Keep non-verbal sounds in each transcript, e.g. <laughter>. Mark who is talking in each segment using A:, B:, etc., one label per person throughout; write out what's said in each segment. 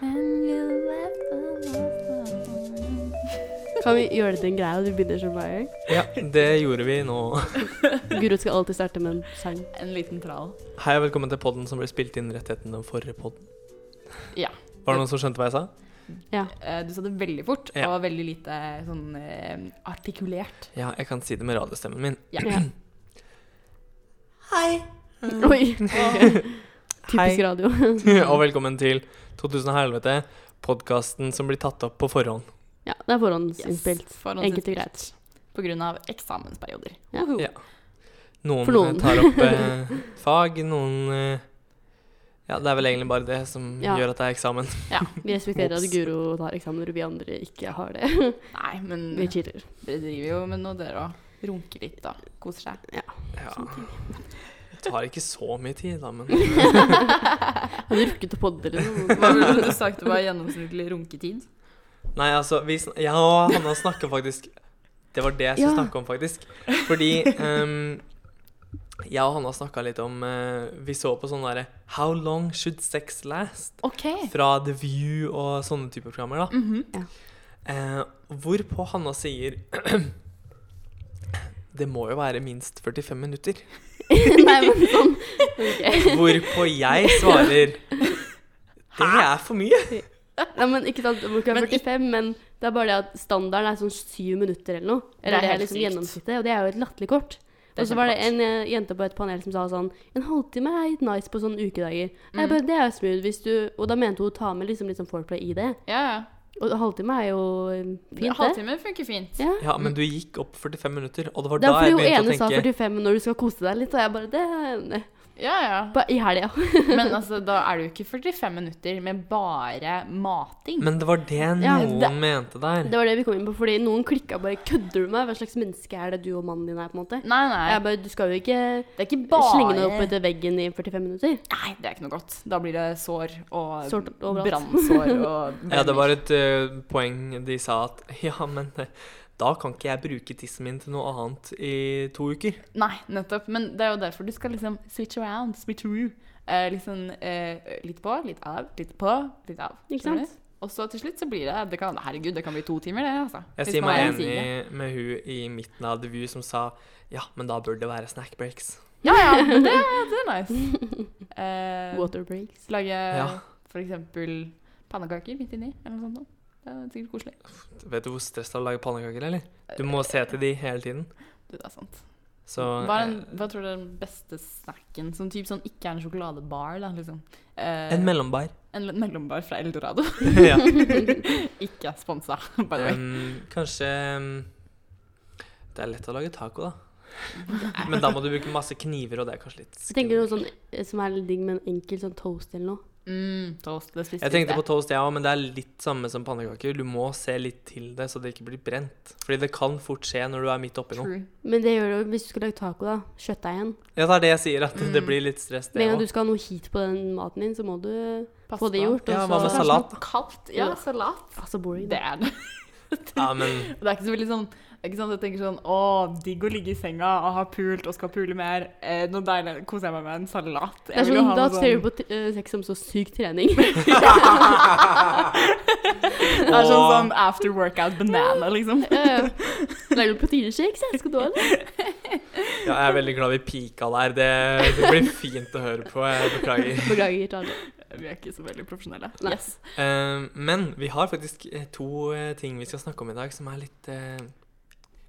A: When you left alone.
B: Kan vi gjøre det til en greie at vi begynner som Briar?
C: Ja, det gjorde vi nå.
B: Guro skal alltid starte med en sang.
D: En liten trall.
C: Hei og velkommen til podden som ble spilt inn rett etter den forrige podden.
D: Ja.
C: Var det noen som skjønte hva jeg sa?
D: Eh, Du sa det veldig fort,
C: Ja.
D: og veldig lite sånn eh, artikulert.
C: Ja, jeg kan si det med radiostemmen min.
D: Ja.
B: Ja.
C: Hei.
B: <laughs>
D: <laughs>
B: Oi! Typisk
C: Hei.
B: radio.
C: <laughs> og velkommen til 2000 helvete, podkasten som blir tatt opp på forhånd.
B: Ja, det er forhåndsinnspilt.
D: Yes, forhåndsinnspilt.
B: Enkelt og greit.
D: På grunn av eksamensperioder.
B: Ja.
D: Uhu.
C: Ja. Noen,
B: For noen.
C: eh, tar opp eh, fag, noen eh, Ja, det er vel egentlig bare det som
B: Ja.
C: gjør at det er eksamen.
B: Vi respekterer at
C: Ops.
B: Guro tar eksamener, og vi andre ikke har
D: <laughs>
B: det.
D: Nei, men
B: <laughs> Vi
D: <laughs>
B: chiller.
D: dere driver jo med noe, dere òg. Runker litt og koser seg.
C: Ja. Det tar ikke så mye tid, da, men
B: <laughs> Har du rukket å podde eller noe?
D: Hva ville du sagt det var gjennomsnittlig runketid?
C: Nei, altså vi sn Jeg og Hanna snakka faktisk Det var det jeg skulle
B: Ja.
C: snakke om, faktisk. Fordi ehm, jeg og Hanna snakka litt om eh, Vi så på sånn derre How long should sex last?
D: OK.
C: Fra The View og sånne typer programmer, da.
D: Mhm.
C: Eh, hvorpå Hanna sier <clears throat> Det må jo være minst 45 minutter.
B: <laughs> Nei, men sånn. Ok.
C: Hvorpå jeg svarer Det er for mye.
B: Nei, men ikke sant, det må ikke være
D: Men i-
B: 45, men det er bare det at standarden er sånn syv minutter eller noe.
D: Det er
B: Eller det er,
D: helt
B: liksom
D: sykt.
B: gjennomsnittet, og det er jo et latterlig kort.
D: Det er
B: Og så var det
D: kjempebra.
B: en eh, jente på et panel som sa sånn En halvtime er helt nice på sånne ukedager. Jeg
D: Mm.
B: bare, det er jo smooth hvis du Og da mente hun å ta med liksom litt sånn foreplay i det.
D: Ja, ja.
B: Og halvtime er jo eh, fint, det.
D: Halvtime funker fint.
B: Ja.
C: Ja, men du gikk opp 45 minutter, og det var
B: Det
C: da
B: er
C: jeg
B: fordi hun ene
C: begynte
B: sa
C: å tenke
B: 45 når du skal kose deg litt, og jeg bare Det er- nei.
D: Ja, ja.
B: Bare I helga.
D: <laughs> Men altså, da er det jo ikke 45 minutter med bare mating.
C: Men det var det noen
B: Ja, det-
C: mente der.
B: Det var det vi kom inn på, fordi noen klikka bare Kødder du med meg? Hva slags menneske er det du og mannen din er, på en måte?
D: Nei, nei.
B: Jeg bare, du skal jo ikke
D: Det er ikke
B: slenge deg opp
D: bare
B: etter veggen i 45 minutter.
D: Nei, det er ikke noe godt. Da blir det sår og
B: Sår overalt.
D: brannsår
B: <laughs>
D: og
C: Ja, det var et eh, poeng de sa at <laughs> Ja, men eh, da kan ikke jeg bruke tissen min til noe annet i to uker.
D: Nei, nettopp. Men det er jo derfor du skal liksom switch around, switcheroo. Eh, liksom eh, litt på, litt av, litt på, litt av.
B: Ikke
D: Skjønner du?
B: sant?
D: Og så til slutt så blir det, det kan, Herregud, det kan bli to timer, det, altså.
C: Jeg
D: Hvis
C: sier
D: man
C: meg
D: er en
C: enig
D: single.
C: med hun i midten av The View som sa ja, men da bør det være snack breaks.
D: Ja, ja, men det, det er nice.
B: <laughs>
D: Eh,
B: Water breaks.
D: lage
C: Ja.
D: for eksempel pannekaker midt inni, eller noe sånt. nå. Det er sikkert koselig.
C: Vet du hvor stressa det er å lage pannekaker, eller? Du må se til de hele tiden.
D: Du, det er sant.
C: Så
D: hva, er den,
C: eh,
D: hva tror du er den beste snacken? Som typ sånn ikke er en sjokoladebar, da, liksom. Eh,
C: En mellombar.
D: en l- mellombar fra
C: <laughs>
D: Eldorado.
C: ja.
D: ikke sponsa, <laughs> by the way.
C: um, kanskje um, Det er lett å lage taco,
D: <laughs>
C: da. Men da må du bruke masse kniver, og det er kanskje litt
B: Så tenker du
C: skummelt.
B: noe sånn eh, som er litt digg med en enkel sånn toast eller noe.
D: Mm, toast, det spiste vi
C: Jeg
D: i
C: tenkte på
D: sted.
C: toast, jeg òg, men det er litt samme som pannekaker. Du må se litt til det, så det ikke blir brent. Fordi det kan fort skje når du er midt oppi noe.
D: True.
B: Men det gjør det jo hvis du skal lage taco, da. Kjøttdeigen.
C: Ja, det er det jeg sier, at det
D: Mm.
C: blir litt stress,
B: Med
C: det
B: en gang
C: òg.
B: du skal ha noe heat på den maten din, så må du
D: Pasta.
B: få det gjort.
C: Ja,
B: og
C: hva med
B: så-
C: salat?
D: Kanskje noe Kaldt. Ja,
B: Ja.
D: salat.
B: Altså boring.
D: Det
B: da.
D: er det.
C: Ja, men
D: Det er ikke så veldig sånn ikke sant? Jeg tenker sånn Å, digg å ligge i senga og ha pult og skal pule mer. Eh, noe deilig. Koser jeg meg med en salat.
B: Det er sånn, da ser du på t- eh, sex som så syk
D: <laughs>
B: trening.
D: Det er sånn sånn after workout banana, liksom.
B: Eh, Lager du proteinshakes? Jeg skal du ha det?
C: ja, jeg er veldig glad vi pika der. Det, det blir fint å høre på. Jeg beklager.
B: Beklager, Charlie.
D: <laughs> Vi er ikke så veldig profesjonelle.
B: Nei.
D: Yes.
C: Eh, men vi har faktisk eh, to eh, ting vi skal snakke om i dag, som er litt eh,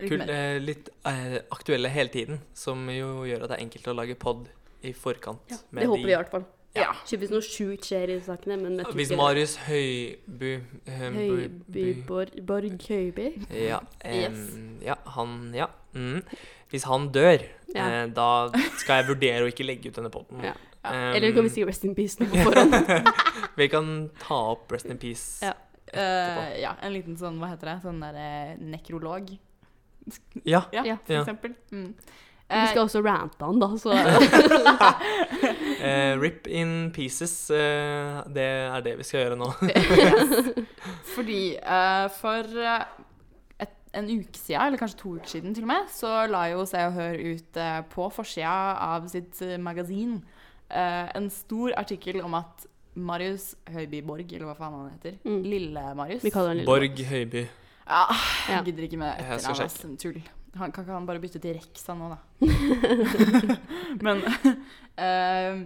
D: Litt
C: Kul,
D: mer.
C: eh, litt eh, aktuelle hele tiden, som jo gjør at det er enkelt å lage pod i forkant.
B: Ja,
C: med
B: det håper
C: de-
B: vi i hvert fall.
D: Ja.
B: Typisk noe sjukt skjer i sakene, men vet
C: Hvis
B: ikke.
C: Marius eh, Høibu Høibu-
B: Høyby
C: Bu-
B: Borg Borg Høyby.
C: ja, em, ja, han Ja. Mm. Hvis han dør,
B: Ja.
C: eh, da skal jeg vurdere å ikke legge ut denne poden.
B: Ja. Eller kan vi si Rest in Peace nå på forhånd?
C: forhånd? <laughs> vi kan ta opp Rest in Peace.
B: Ja.
C: etterpå.
D: Eh, ja, en liten sånn, hva heter det, sånn der eh, nekrolog,
C: ja.
D: ja,
B: Ja.
D: for
C: Ja.
D: eksempel. Mm.
B: Vi
D: Eh,
B: skal også rante han, da, så
C: <laughs> <laughs> Eh, rip in pieces. Eh, det er det vi skal gjøre nå.
D: Fordi eh, for eh, et, en uke siden, eller kanskje to uker siden til og med, så la jo Se og Hør ut eh, på forsida av sitt eh, magasin eh, en stor artikkel om at Marius Høiby Borg, eller hva faen han heter.
B: Mm.
D: Lille Marius.
B: Vi kaller han Lille.
C: Borg Høiby.
D: Ja,
B: Ja.
D: jeg gidder ikke med
C: Jeg skal
D: etternavn. ass. Tull. Han, kan ikke han bare bytte til Rexa nå, da?
B: <laughs>
D: Men <laughs> eh,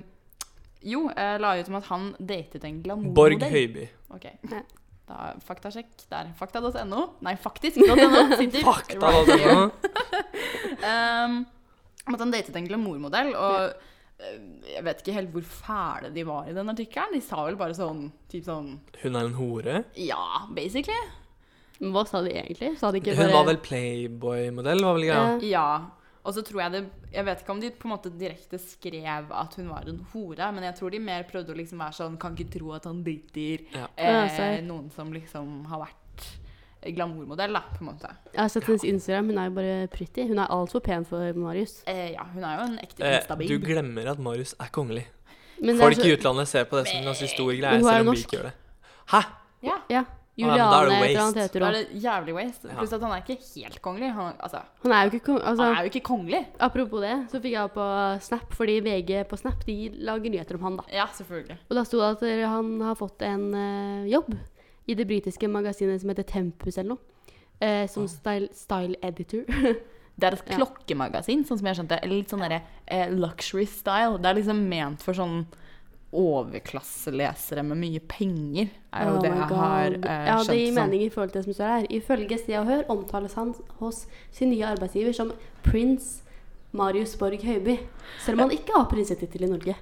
D: Jo, jeg la ut om at han datet en glamourmodell.
C: Borg Høiby.
D: Ok.
B: Ja.
D: Da, faktasjekk der. Fakta.no. Nei, faktisk.no.
B: <laughs>
D: sitter
C: Fakta, da,
D: right here.
C: denne.
D: Um, at han datet en glamourmodell, og eh, jeg vet ikke helt hvor fæle de var i den artikkelen. De sa vel bare sånn typ sånn
C: Hun er en hore.
D: Ja, basically.
B: Men Hva sa de egentlig? Sa de ikke
C: Hun
B: bare
C: var vel Playboy-modell, var vel greia?
B: Ja.
D: Ja. Og så tror jeg det Jeg vet ikke om de på en måte direkte skrev at hun var en hore, men jeg tror de mer prøvde å liksom være sånn Kan ikke tro at han dater
C: Ja.
B: Ja,
D: eh,
B: serr.
D: noen som liksom har vært glamourmodell, da, på en måte.
B: Jeg har sett hennes Instagram, hun er jo bare pretty. Hun er altfor pen for Marius.
D: Eh, ja, hun er jo en ekte
C: Eh, du
D: instababe.
C: glemmer at Marius er kongelig.
B: Men det er
C: Folk
B: så-
D: altså,
C: i utlandet ser på det som en ganske stor greie,
B: Men hun er
C: selv om vi
B: norsk.
C: ikke gjør det. Hæ?
D: Ja.
B: Ja.
C: men da er det
B: Juliane et eller
C: waste.
B: annet heter
D: Da
B: hun.
D: er det jævlig waste.
C: Ja.
D: Pluss at han er ikke helt kongelig. Han, altså,
B: Han er jo ikke kong... Altså,
D: han er jo ikke kongelig.
B: Apropos det, så fikk jeg opp på Snap, fordi VG på Snap de lager nyheter om han. da.
D: Ja, selvfølgelig.
B: Og da sto det at eh, han har fått en eh, jobb i det britiske magasinet som heter Tempus eller noe. eh, som style, style editor.
D: Det er et
B: Ja.
D: klokkemagasin, sånn som jeg skjønte. eller Litt sånn derre eh, luxury style. Det er liksom ment for sånn overklasselesere med mye penger, er jo
B: Oh
D: det
B: my
D: jeg
B: God.
D: har eh,
B: Ja, det
D: skjønt.
B: gir
D: sånn.
B: mening i forhold til det som står her. Ifølge Se og Hør omtales han hos sin nye arbeidsgiver som prins Marius Borg Høiby. Selv om han ikke har prinsetittelen i Norge.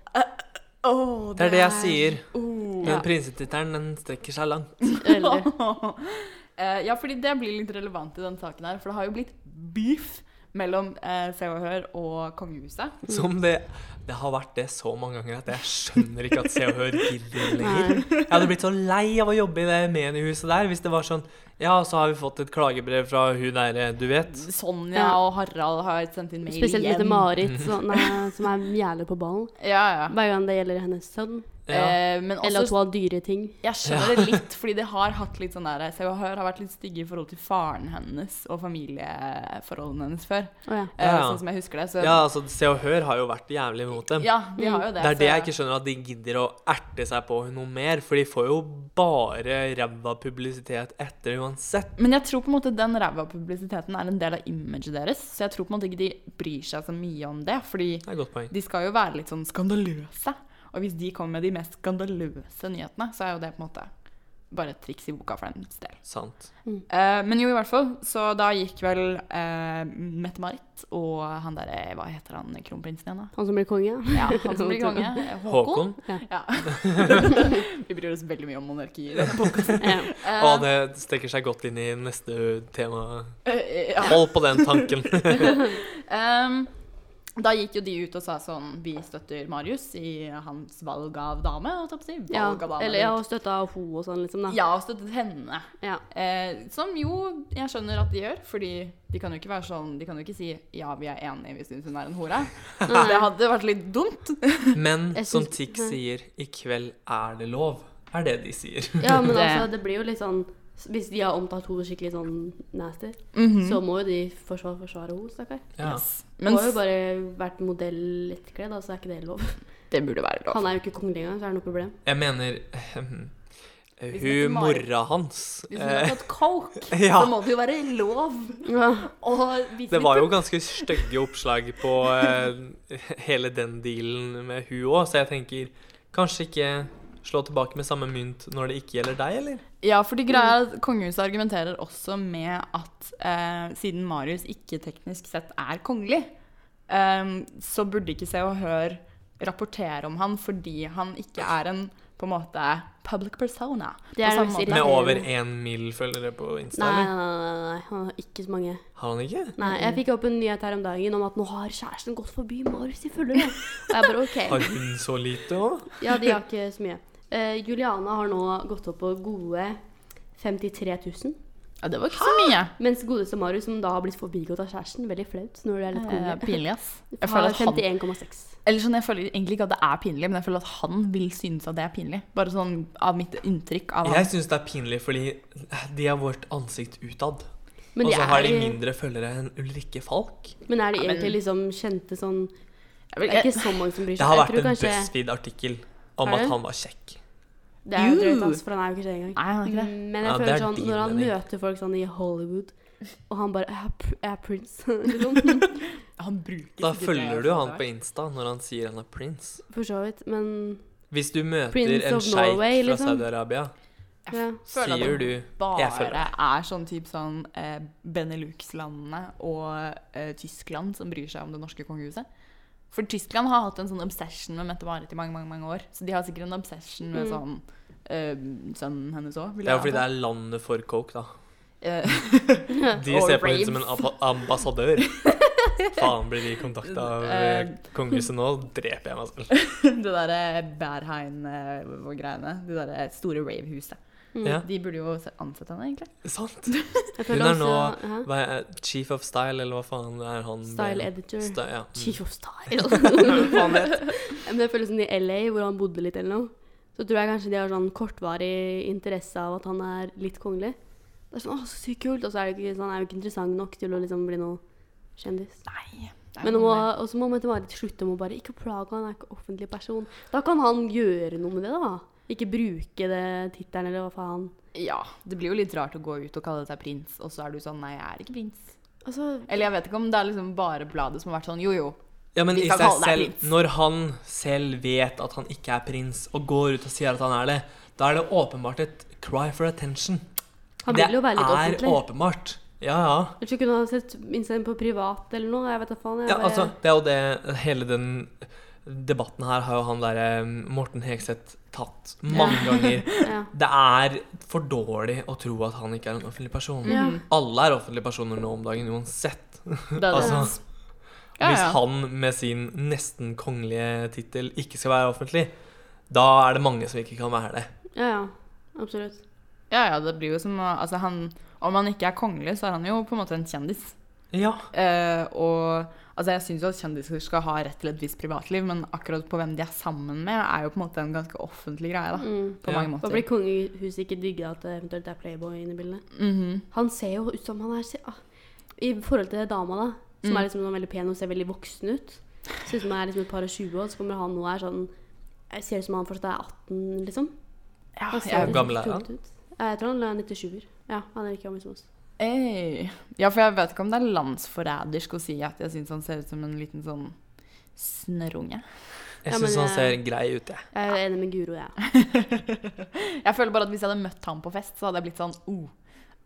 D: Åh,
C: Det er det jeg sier.
D: Oh.
C: Men prinsetittelen, den strekker seg langt.
B: Eller,
D: <laughs> Eh, ja, fordi det blir litt relevant i den saken her, for det har jo blitt beef mellom eh, Se og Hør og kongehuset.
C: Som det Det har vært det så mange ganger at jeg skjønner ikke at Se og Hør gidder lenger.
B: nei.
C: Jeg hadde blitt så lei av å jobbe i det mediehuset der hvis det var sånn Ja, så har vi fått et klagebrev fra hun derre du vet.
D: Sonja
B: Ja.
D: og Harald har sendt inn mail
B: Spesielt
D: igjen.
B: lite Marit, sånn, eh, som er jævlig på ballen.
D: Ja, ja.
B: Hver gang det gjelder hennes sønn.
C: Ja.
D: Eh, men
B: Eller at
D: også,
B: hun har dyre ting.
D: jeg skjønner det litt, fordi det har hatt litt sånn der Se og Hør har vært litt stygge i forhold til faren hennes og familieforholdene hennes før.
B: Å ja.
D: Eh,
C: Ja.
D: Sånn som jeg husker det. Så,
C: ja, altså Se og Hør har jo vært jævlig imot dem.
D: Ja, de har jo det.
C: Det er det jeg
D: så-
C: ikke skjønner, at de gidder å erte seg på noe mer. For de får jo bare ræva publisitet etter uansett.
D: Men jeg tror på en måte den ræva publisiteten er en del av imaget deres, så jeg tror på en måte ikke de bryr seg så mye om det, fordi
C: Det er et godt poeng.
D: de skal jo være litt sånn skandaløse. Og hvis de kommer med de mest skandaløse nyhetene, så er jo det på en måte bare et triks i boka for deres del.
C: Sant.
D: Eh, men jo, i hvert fall. Så da gikk vel eh, Mette-Marit og han derre Hva heter han kronprinsen
B: <laughs>
D: igjen, da?
B: Han som
D: <laughs>
B: blir konge.
D: Ja, han som blir konge. eh, Håkon.
C: Håkon?
D: Ja.
C: <laughs>
D: Vi bryr oss veldig mye om monarki. i denne podcasten.
B: Ja.
D: Eh,
C: Å, det strekker seg godt inn i neste tema.
D: eh, ja.
C: Hold på den tanken.
B: <laughs>
D: Ehm, da gikk jo de ut og sa sånn Vi støtter Marius i hans valg av dame. holdt jeg på å si.
B: Ja.
D: Valg av dame.
B: Eller ja, og støtta ho og sånn, liksom. da.
D: Ja, og støttet henne.
B: Ja.
D: Eh, som jo jeg skjønner at de gjør, fordi de kan jo ikke være sånn De kan jo ikke si 'ja, vi er enige, vi syns hun er en hore'. Det hadde vært litt dumt.
C: Men
B: Jeg
C: som
B: syns-
C: Tix sier, i kveld er det lov. Er det
B: <laughs>
C: de sier.
B: Ja,
D: <laughs>
B: men
D: Det-
B: altså, det blir jo litt sånn Hvis de har omtalt henne skikkelig sånn nasty,
D: Mm.
B: så må jo de forsvare, forsvare henne, stakkar.
C: Ja.
D: Yes.
B: Hun
D: Mhm. Men
B: har jo bare vært modell lettkledd, altså er ikke det lov.
D: det burde være lov.
B: Han er jo ikke kongelig engang, så er det noe problem.
C: Jeg mener ehm,
D: heter
C: Hun
D: Marit.
C: mora hans
D: Hvis hun har
C: eh,
D: fått coke,
C: <laughs> Ja.
D: så må det jo være lov
B: Ja.
D: å vise
C: Det
D: litt
C: var jo ganske stygge oppslag på eh, hele den dealen med hun òg, så jeg tenker kanskje ikke slå tilbake med samme mynt når det ikke gjelder deg, eller?
D: Ja, fordi greia er at kongehuset argumenterer også med at eh, siden Marius ikke teknisk sett er kongelig, ehm, så burde ikke Se og Hør rapportere om han fordi han ikke er en på en måte public persona.
B: Det
D: På
B: er
D: samme
B: nok
D: måte.
B: sikkert.
C: Med over én mil følgere på Insta,
B: Nei, nei,
C: eller?
B: nei, nei, nei, han har ikke så mange.
C: Har han ikke?
B: Nei, Jeg fikk opp en nyhet her om dagen om at nå har kjæresten gått forbi Marius i følgere. Og jeg bare OK.
C: Har hun så lite òg?
B: Ja, de har ikke så mye. Eh, Juliana har nå gått opp på gode 53 000.
D: Ja, det var ikke så mye.
B: Mens godeste Marius, som da har blitt forbigått av kjæresten, veldig flaut når det er litt
D: Eh,
B: kongelig,
D: pinlig, <laughs> ass. Jeg
B: har
D: føler, at han,
B: 51,6.
D: eller sånn, jeg føler egentlig ikke at det er pinlig, men jeg føler at han vil synes at det er pinlig. Bare sånn av mitt inntrykk
B: Ah.
D: av han.
C: Jeg syns det er pinlig, fordi de har vårt ansikt utad.
B: Men,
C: Og
B: de
C: så har
B: er,
C: de mindre følgere enn Ulrikke Falk.
B: men er de
D: Ja, men-
B: egentlig liksom kjente sånn
D: Jeg
B: Det
D: vil-
B: er ikke så mange som bryr seg.
C: Det har
B: Jeg
C: vært
B: tror
C: en
B: kanskje
C: BuzzFeed-artikkel om
B: Er det?
C: at han var kjekk.
B: Det er jo
D: You!
B: drøyt, altså, for han er jo ikke skjedd engang.
D: Nei, han er ikke det.
B: Men jeg
C: Ja, det
B: føler
C: er
B: sånn,
C: din
B: når han
C: mening.
B: møter folk sånn i Hollywood, og han bare Jeg er pr- jeg er prins. <laughs> liksom.
D: Han bruker
C: Da
D: sikkert det
C: følger
D: også
C: du han
D: etter
C: på Insta når han sier han er prins.
B: For så vidt. Men
C: Hvis du møter
B: Prince
C: en
B: of
C: sjeik
B: Norway,
C: fra
B: liksom.
C: Saudi-Arabia,
B: ja.
D: Føler at
C: sier
D: han
C: du
D: bare
C: Jeg føler det.
D: er sånn typ sånn eh, Benelux-landene og eh, Tyskland som bryr seg om det norske kongehuset. For Tyskland har hatt en sånn obsession med Mette-Marit i mange mange, mange år. Så de har sikkert en obsession med
B: Mm.
D: sånn eh, sønnen hennes òg.
C: Det er jo fordi det er landet for coke, da.
D: Eh,
C: De
D: Og
C: ser på henne som en
D: raves.
C: abba- ambassadør.
D: <laughs>
C: Faen, blir de kontakta av eh,
D: Eh.
C: kongehuset nå, dreper jeg meg selv.
D: <laughs> det eh, derre Bærheim-greiene. eh, Det derre store rave-huset.
B: Mm.
C: Ja,
D: De burde jo ansette henne, egentlig.
C: sant?
B: Jeg
C: Hun eh,
B: føler
C: er
B: også hæ?
C: Hva er Chief of Style, eller hva faen er han?
B: Style editor.
C: Sty- ja.
B: Chief
C: mm.
B: of
C: <laughs>
B: style. <laughs> Men jeg føler sånn i LA, hvor han bodde litt eller noe, så tror jeg kanskje de har sånn kortvarig interesse av at han er litt kongelig. Det er sånn, å, så sykt kult, og så er det ikke, så han er jo ikke interessant nok til å liksom bli noe kjendis.
D: Nei. det er
B: Men
D: jo
B: nå må,
D: noe med-
B: og så må Mette-Marit slutte med å bare ikke plage han, han er ikke offentlig person. Da kan han gjøre noe med det, da. Ikke bruke det tittelen eller hva faen.
D: Ja. Det blir jo litt rart å gå ut og kalle seg prins, og så er du sånn Nei, jeg er ikke prins.
B: Altså,
D: Eller jeg vet ikke om det er liksom bare bladet som har vært sånn jo jo.
C: ja, men
D: Vi
C: i
D: skal
C: seg
D: kalle deg
C: selv,
D: prins.
C: når han selv vet at han ikke er prins, og går ut og sier at han er det, da er det åpenbart et cry for attention.
B: han
C: det
B: vil jo være litt
C: er
B: offentlig.
C: åpenbart. Ja, ja.
B: Ellers så kunne han sett Instagram på privat eller noe. Jeg vet da faen. Jeg
C: Ja,
B: bare,
C: altså, det er jo det Hele den debatten her har jo han derre Morten Hegseth tatt mange ganger.
B: ja.
C: Det er for dårlig å tro at han ikke er en offentlig person.
B: Ja.
D: Mhm.
C: Alle er offentlige personer nå om dagen uansett.
D: Det er det.
C: Altså,
D: ja,
C: Hvis
D: ja.
C: han med sin nesten kongelige tittel ikke skal være offentlig, da er det mange som ikke kan være det.
B: ja, ja. Absolutt.
D: ja, ja, det blir jo som å- Altså, han Om han ikke er kongelig, så er han jo på en måte en kjendis.
C: Ja,
D: Eh, og Altså, jeg syns jo at kjendiser skal ha rett til et visst privatliv, men akkurat på hvem de er sammen med, er jo på en måte en ganske offentlig greie, da.
B: Mm.
D: På
C: Ja.
D: mange
B: Da
D: måter.
B: blir kongehuset ikke digga at det eventuelt er Playboy inne i bildet.
D: Mhm.
B: Han ser jo ut som han er se- ah. I forhold til dama, da, som
D: Mm.
B: er liksom sånn veldig pen og ser veldig voksen ut. Ser ut som han er liksom et par og 20 år, så kommer han nå og er sånn jeg Ser ut som han fortsatt er 18, liksom.
D: Ja,
B: Han ser
D: jeg-
B: liksom
C: Ah, gammel er han?
B: tullete ut. Ja, Jeg tror han er 97-er. Ja, han er ikke gammel som oss.
D: Ey. ja, for jeg vet ikke om det er landsforrædersk å si at jeg syns han ser ut som en liten sånn snørrunge. <laughs>
C: jeg
B: Ja, men
C: syns han
B: jeg-
C: ser grei ut, jeg.
B: Jeg er enig med Guro, jeg. Ja.
D: Jeg føler bare at hvis jeg hadde møtt ham på fest, så hadde jeg blitt sånn oh,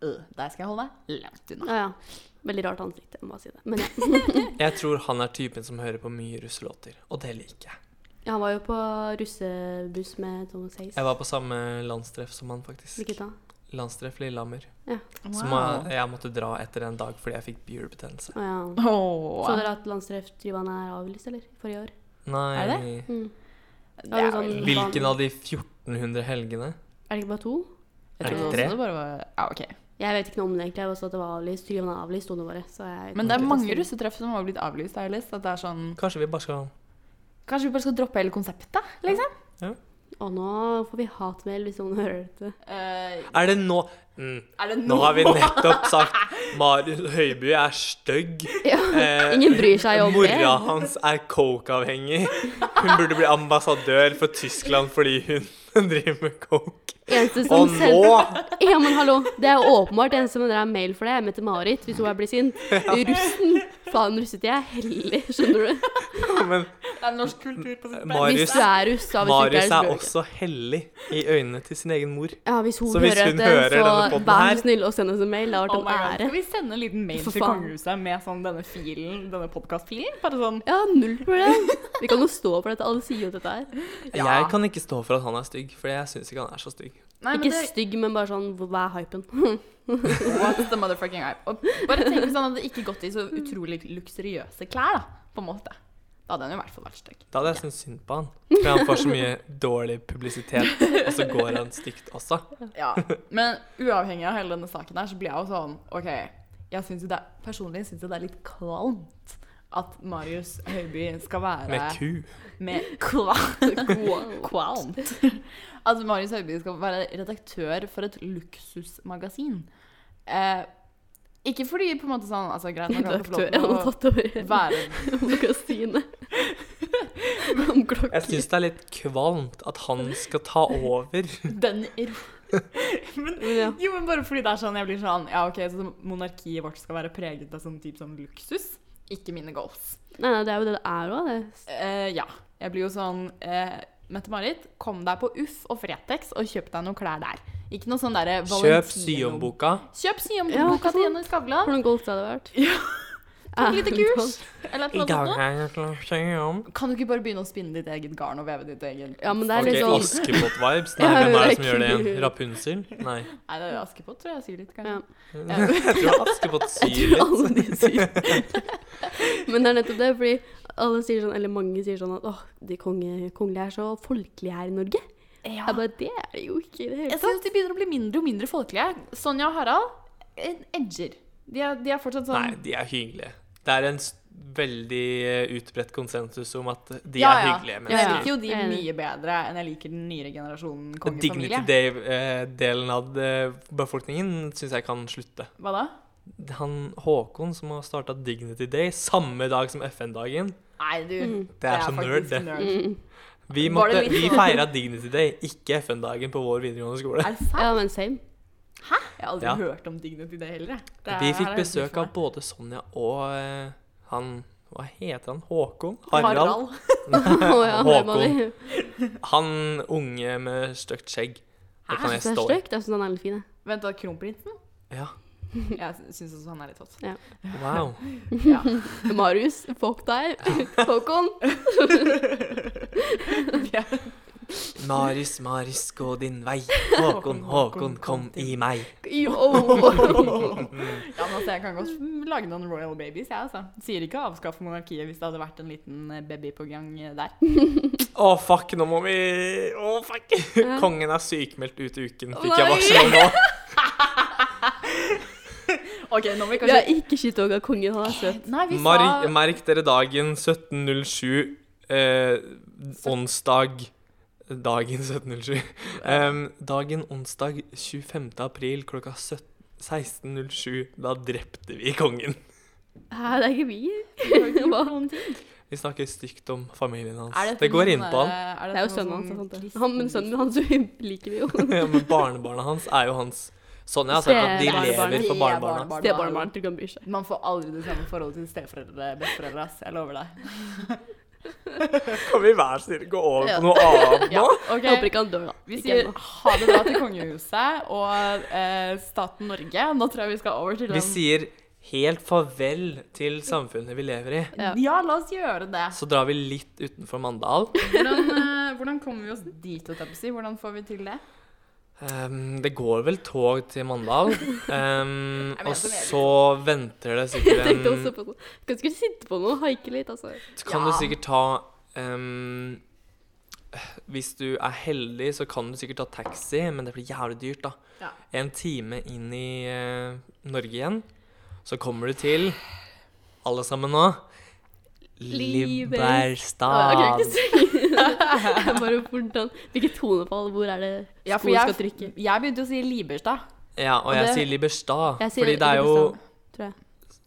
D: øh, Der skal jeg holde meg langt unna.
B: Ja, ja. Veldig rart ansikt, jeg må bare si det. Men ja.
C: Jeg tror han er typen som hører på mye russelåter, og det liker jeg.
B: Ja, Han var jo på russebuss med Thomas Hayes.
C: Jeg var på samme landstreff som han, faktisk.
B: Hvilket da?
C: Landstreff Lillehammer. Som jeg,
D: Wow.
C: jeg måtte dra etter en dag fordi jeg fikk bihulebetennelse.
B: Å ja.
D: Åh.
B: Så dere at landstreffdriverne er avlyst, eller? Forrige år?
C: Nei
D: Er
B: Mm.
D: Det
B: Har du
D: er vel-
B: sånn-
C: Hvilken av de 1400 helgene?
B: Er det ikke bare to?
D: Jeg
C: Er det
D: trodde
C: tre?
D: også det bare var Ja, ok.
B: Jeg vet ikke noe om det egentlig. Jeg vet også at det var avlyst. Tydeligvis var avlyst stående våre. Så jeg
D: Men det er
B: Ok.
D: mange russetreff som har blitt avlyst, har jeg lest. At det er sånn
C: Kanskje vi bare skal
D: Kanskje vi bare skal droppe hele konseptet, liksom?
B: Og nå får vi hatmail hvis noen hører
D: <laughs>
B: dette.
D: Eh,
C: Er det nå mm,
D: er det
C: Nå har vi
D: noe-
C: nettopp sagt Marius Høiby er stygg. Eh,
B: Ingen bryr seg om det.
C: Mora hans er coke-avhengig. Hun burde bli ambassadør for Tyskland fordi hun <laughs> driver med coke.
B: Eneste som
C: Og nå
B: Ja, men hallo. Det er jo åpenbart en som sender deg mail for det. Jeg heter Marit, hvis hun her blir sint. Russen. Faen, russet jeg er hellig, skjønner du.
C: Men
D: Det er norsk kultur på sitt
C: Mari- Marius-
B: hvis du er russ, da. Hvis du
C: Marius
B: ikke er
C: er
B: russ, bør du ikke.
C: også hellig i øynene til sin egen mor.
B: Ja, hvis hun
C: Så hvis
B: hører
C: hun
B: dette,
C: hører denne
B: så
C: podden
B: vær
C: her-
B: så snill å sende oss en mail. Det har
D: Oh
B: vært
D: my
B: en
D: god. Skal
B: ære.
D: vi sende en liten mail
B: For
D: til
B: faen.
D: kongehuset med sånn denne filen, denne podkastfilen? Bare sånn
B: Ja, null problem. Vi kan jo stå for dette. Alle sier jo dette her.
D: Ja.
C: Jeg kan ikke stå for at han er stygg, for jeg syns ikke han er så stygg.
D: Nei, men
B: Ikke
D: det-
B: stygg, men bare sånn Hva er hypen?
D: <laughs>
B: <laughs>
D: What's the motherfucking hype? Og bare tenk hvis han hadde ikke gått i så utrolig luksuriøse klær, da. På en måte. Da hadde han i hvert fall vært stygg.
C: Da hadde jeg syntes synd på han. For han får så mye dårlig publisitet, og så går han stygt også.
D: Ja. Men uavhengig av hele denne saken her, så blir jeg jo sånn OK, jeg synes jo det er, personlig syns jeg det er litt kvalmt at Marius Høiby skal være
C: Med ku.
D: med kva, Kvalmt. At Marius Høiby skal være redaktør for et luksusmagasin. Eh, ikke fordi på en måte sånn altså, Greit, man kan få lov
B: Redaktør.
D: til å
B: <laughs> Han har tatt over hele
D: være
B: magasinet. om klokker.
C: Jeg syns det er litt kvalmt at han skal ta over.
D: Den er
B: <laughs>
D: men,
B: Men ja.
D: Jo, men bare fordi det er sånn, jeg blir sånn Ja, OK, så monarkiet vårt skal være preget av sånn type sånn luksus. Ikke mine goals.
B: Nei, nei, det er jo det det er òg, det.
D: Eh, ja. Jeg blir jo sånn eh, Mette-Marit, kom deg på Uff og Fretex og kjøp deg noen klær der. Ikke noe sånn derre
C: Kjøp
D: Valentino-
C: Syom-boka.
D: Kjøp
B: Ja,
D: Syom-boka
B: ikke
D: til
B: sant?
D: Jenny Skavlan.
B: Hvordan goldt hadde det vært?
D: Tok litt kurs.
B: <laughs>
D: Eller
C: I
D: noe
C: dag
D: sånt.
C: er jeg klar til å syom.
D: Kan du ikke bare begynne å spinne ditt eget garn og veve ditt eget
B: Ja, men det er
C: Ok,
B: litt sånn
C: Askepott-vibes.
B: <laughs> Ja,
C: Nei, hvem er det som
B: det er
C: gjør det igjen?
B: kult.
C: Rapunzel? Nei.
D: Nei, det er jo Askepott, tror jeg sikkert.
B: ja.
D: kanskje.
C: <laughs> Jeg tror Askepott
B: Jeg
C: syr
B: tror
C: litt.
B: alle de
C: <laughs>
B: sier Men det er nettopp det, fordi alle sier sånn, eller mange sier sånn at åh, de konge, kongelige er så folkelige her i Norge.
D: Ja.
B: Jeg bare, det er det jo ikke i det hele
D: Jeg syns de begynner å bli mindre og mindre folkelige. Sonja og Harald en edger. De er, de er fortsatt sånn
C: Nei, de er hyggelige. Det er en s- veldig eh, utbredt konsensus om at de
D: Ja,
C: er
D: ja.
C: hyggelige
D: Men jeg
B: Ja, ja.
C: mennesker.
D: liker jo de
B: Jeg er enig.
D: mye bedre enn jeg liker den nyere generasjonen kongefamilie.
C: Dignity-delen av eh, befolkningen syns jeg kan slutte.
D: Hva da?
C: Han Håkon som har starta Dignity Day samme dag som FN-dagen.
D: Nei, du.
B: Mm.
C: Det er
D: jeg
C: så nerd,
D: faktisk
C: det.
D: nerd.
B: Mm.
C: Vi,
D: Var det
C: måtte,
D: litt
C: vi
D: sånn-
C: feira Dignity Day, ikke FN-dagen på vår videregående skole.
D: Er det sant?
B: Ja, men
C: <laughs>
B: same.
D: Jeg har aldri
C: Ja.
D: hørt om Dignity Day heller. jeg. Det er-
C: Vi
D: her
C: fikk
D: er det
C: besøk
D: for
C: av
D: meg.
C: både Sonja og eh, han Hva heter han? Håkon?
D: <laughs>
C: Harald?
D: Harald.
B: Å ja, det må
C: Håkon.
B: de.
C: Han unge med stygt skjegg. Det
D: Hæ?
C: kan
B: Jeg
C: jeg
B: synes det er
C: stå i.
B: stygt. Jeg synes han er litt fin, jeg.
D: Vent, da, kronprinsen?
C: Ja.
D: Jeg syns også han er litt hot.
C: Wow.
D: Ja.
B: Marius, fuck deg. <laughs> Håkon.
C: Maris, Maris, gå din vei. Håkon, Håkon, kom i meg.
B: <laughs>
C: Mm.
D: Ja, men altså, jeg kan godt lage noen royal babies, jeg, altså. Sier ikke å avskaffe monarkiet hvis det hadde vært en liten baby på gang <laughs> der.
C: Å, fuck, nå må vi Å, fuck. Kongen er sykemeldt ut uken, fikk jeg
D: Nei.
C: varsel om nå.
D: Ok, nå må vi
B: Vi
D: kanskje
B: har ikke shit-toga kongen, han er søt.
D: Nei, vi
C: Merk,
D: sa
C: merk dere dagen 17.07, eh, onsdag Dagen 17.07. Em, dagen onsdag 25. april klokka 17 16.07. Da drepte vi kongen.
B: Hæ, det er ikke vi.
D: Vi <laughs> har ikke gjort
B: Hva?
D: noen ting.
C: Vi snakker stygt om familien hans.
D: Er
C: Det går
D: noe
C: inn på
D: sånn
C: han.
D: der- er
B: Det er jo
D: noe
B: sønnen hans.
D: sånn
B: sant det?
D: kristen-
B: Han, men sønnen hans <laughs> liker vi jo.
C: <laughs> Ja, men barnebarna hans er jo hans Sonja har sagt at de
B: Det er
C: lever
B: barnebarn.
C: for barnebarna.
B: Det er bare barn til kan bry seg.
D: Man får aldri det samme forholdet til steforeldre besteforeldre. ass. Jeg lover deg. <laughs>
C: Kan vi hver side gå over
B: Ja.
C: på noe annet nå?
D: Ok,
B: Jeg håper ikke han dør, da.
D: Vi
B: Ikke
D: sier
B: ennå. <laughs>
D: ha det <laughs> bra til kongehuset og eh, staten Norge. Nå tror jeg vi skal over til
C: Vi sier helt farvel til samfunnet vi lever i.
B: Ja.
D: Ja, la oss gjøre det.
C: Så drar vi litt utenfor Mandal.
D: Hvordan, eh, hvordan kommer vi oss dit? holdt jeg på å si? Hvordan får vi til det?
C: Ehm, det går vel tog til Mandal.
D: Jeg
C: Ehm,
D: mener,
C: og
D: det er
C: så venter det
B: Jeg
C: sikkert
B: tenkte også
C: en
B: på noe. Kan ikke sitte på noe, haike litt, altså.
C: Kan du
D: Ja.
C: sikkert ta ehm, Hvis du er heldig, så kan du sikkert ta taxi, men det blir jævlig dyrt, da.
D: Ja.
C: En time inn i eh, Norge igjen, så kommer du til Alle sammen nå.
B: Ah, jeg kan
C: Liberstad.
B: ikke si <laughs> Jeg bare hvordan Hvilket tonefall? Hvor er det skoen skal trykke?
D: jeg, jeg begynte å si Liberstad.
C: Ja, og
B: Og
C: jeg
B: det-
C: sier Liberstad,
B: Jeg sier
C: fordi det er jo
B: Liberstad, tror jeg.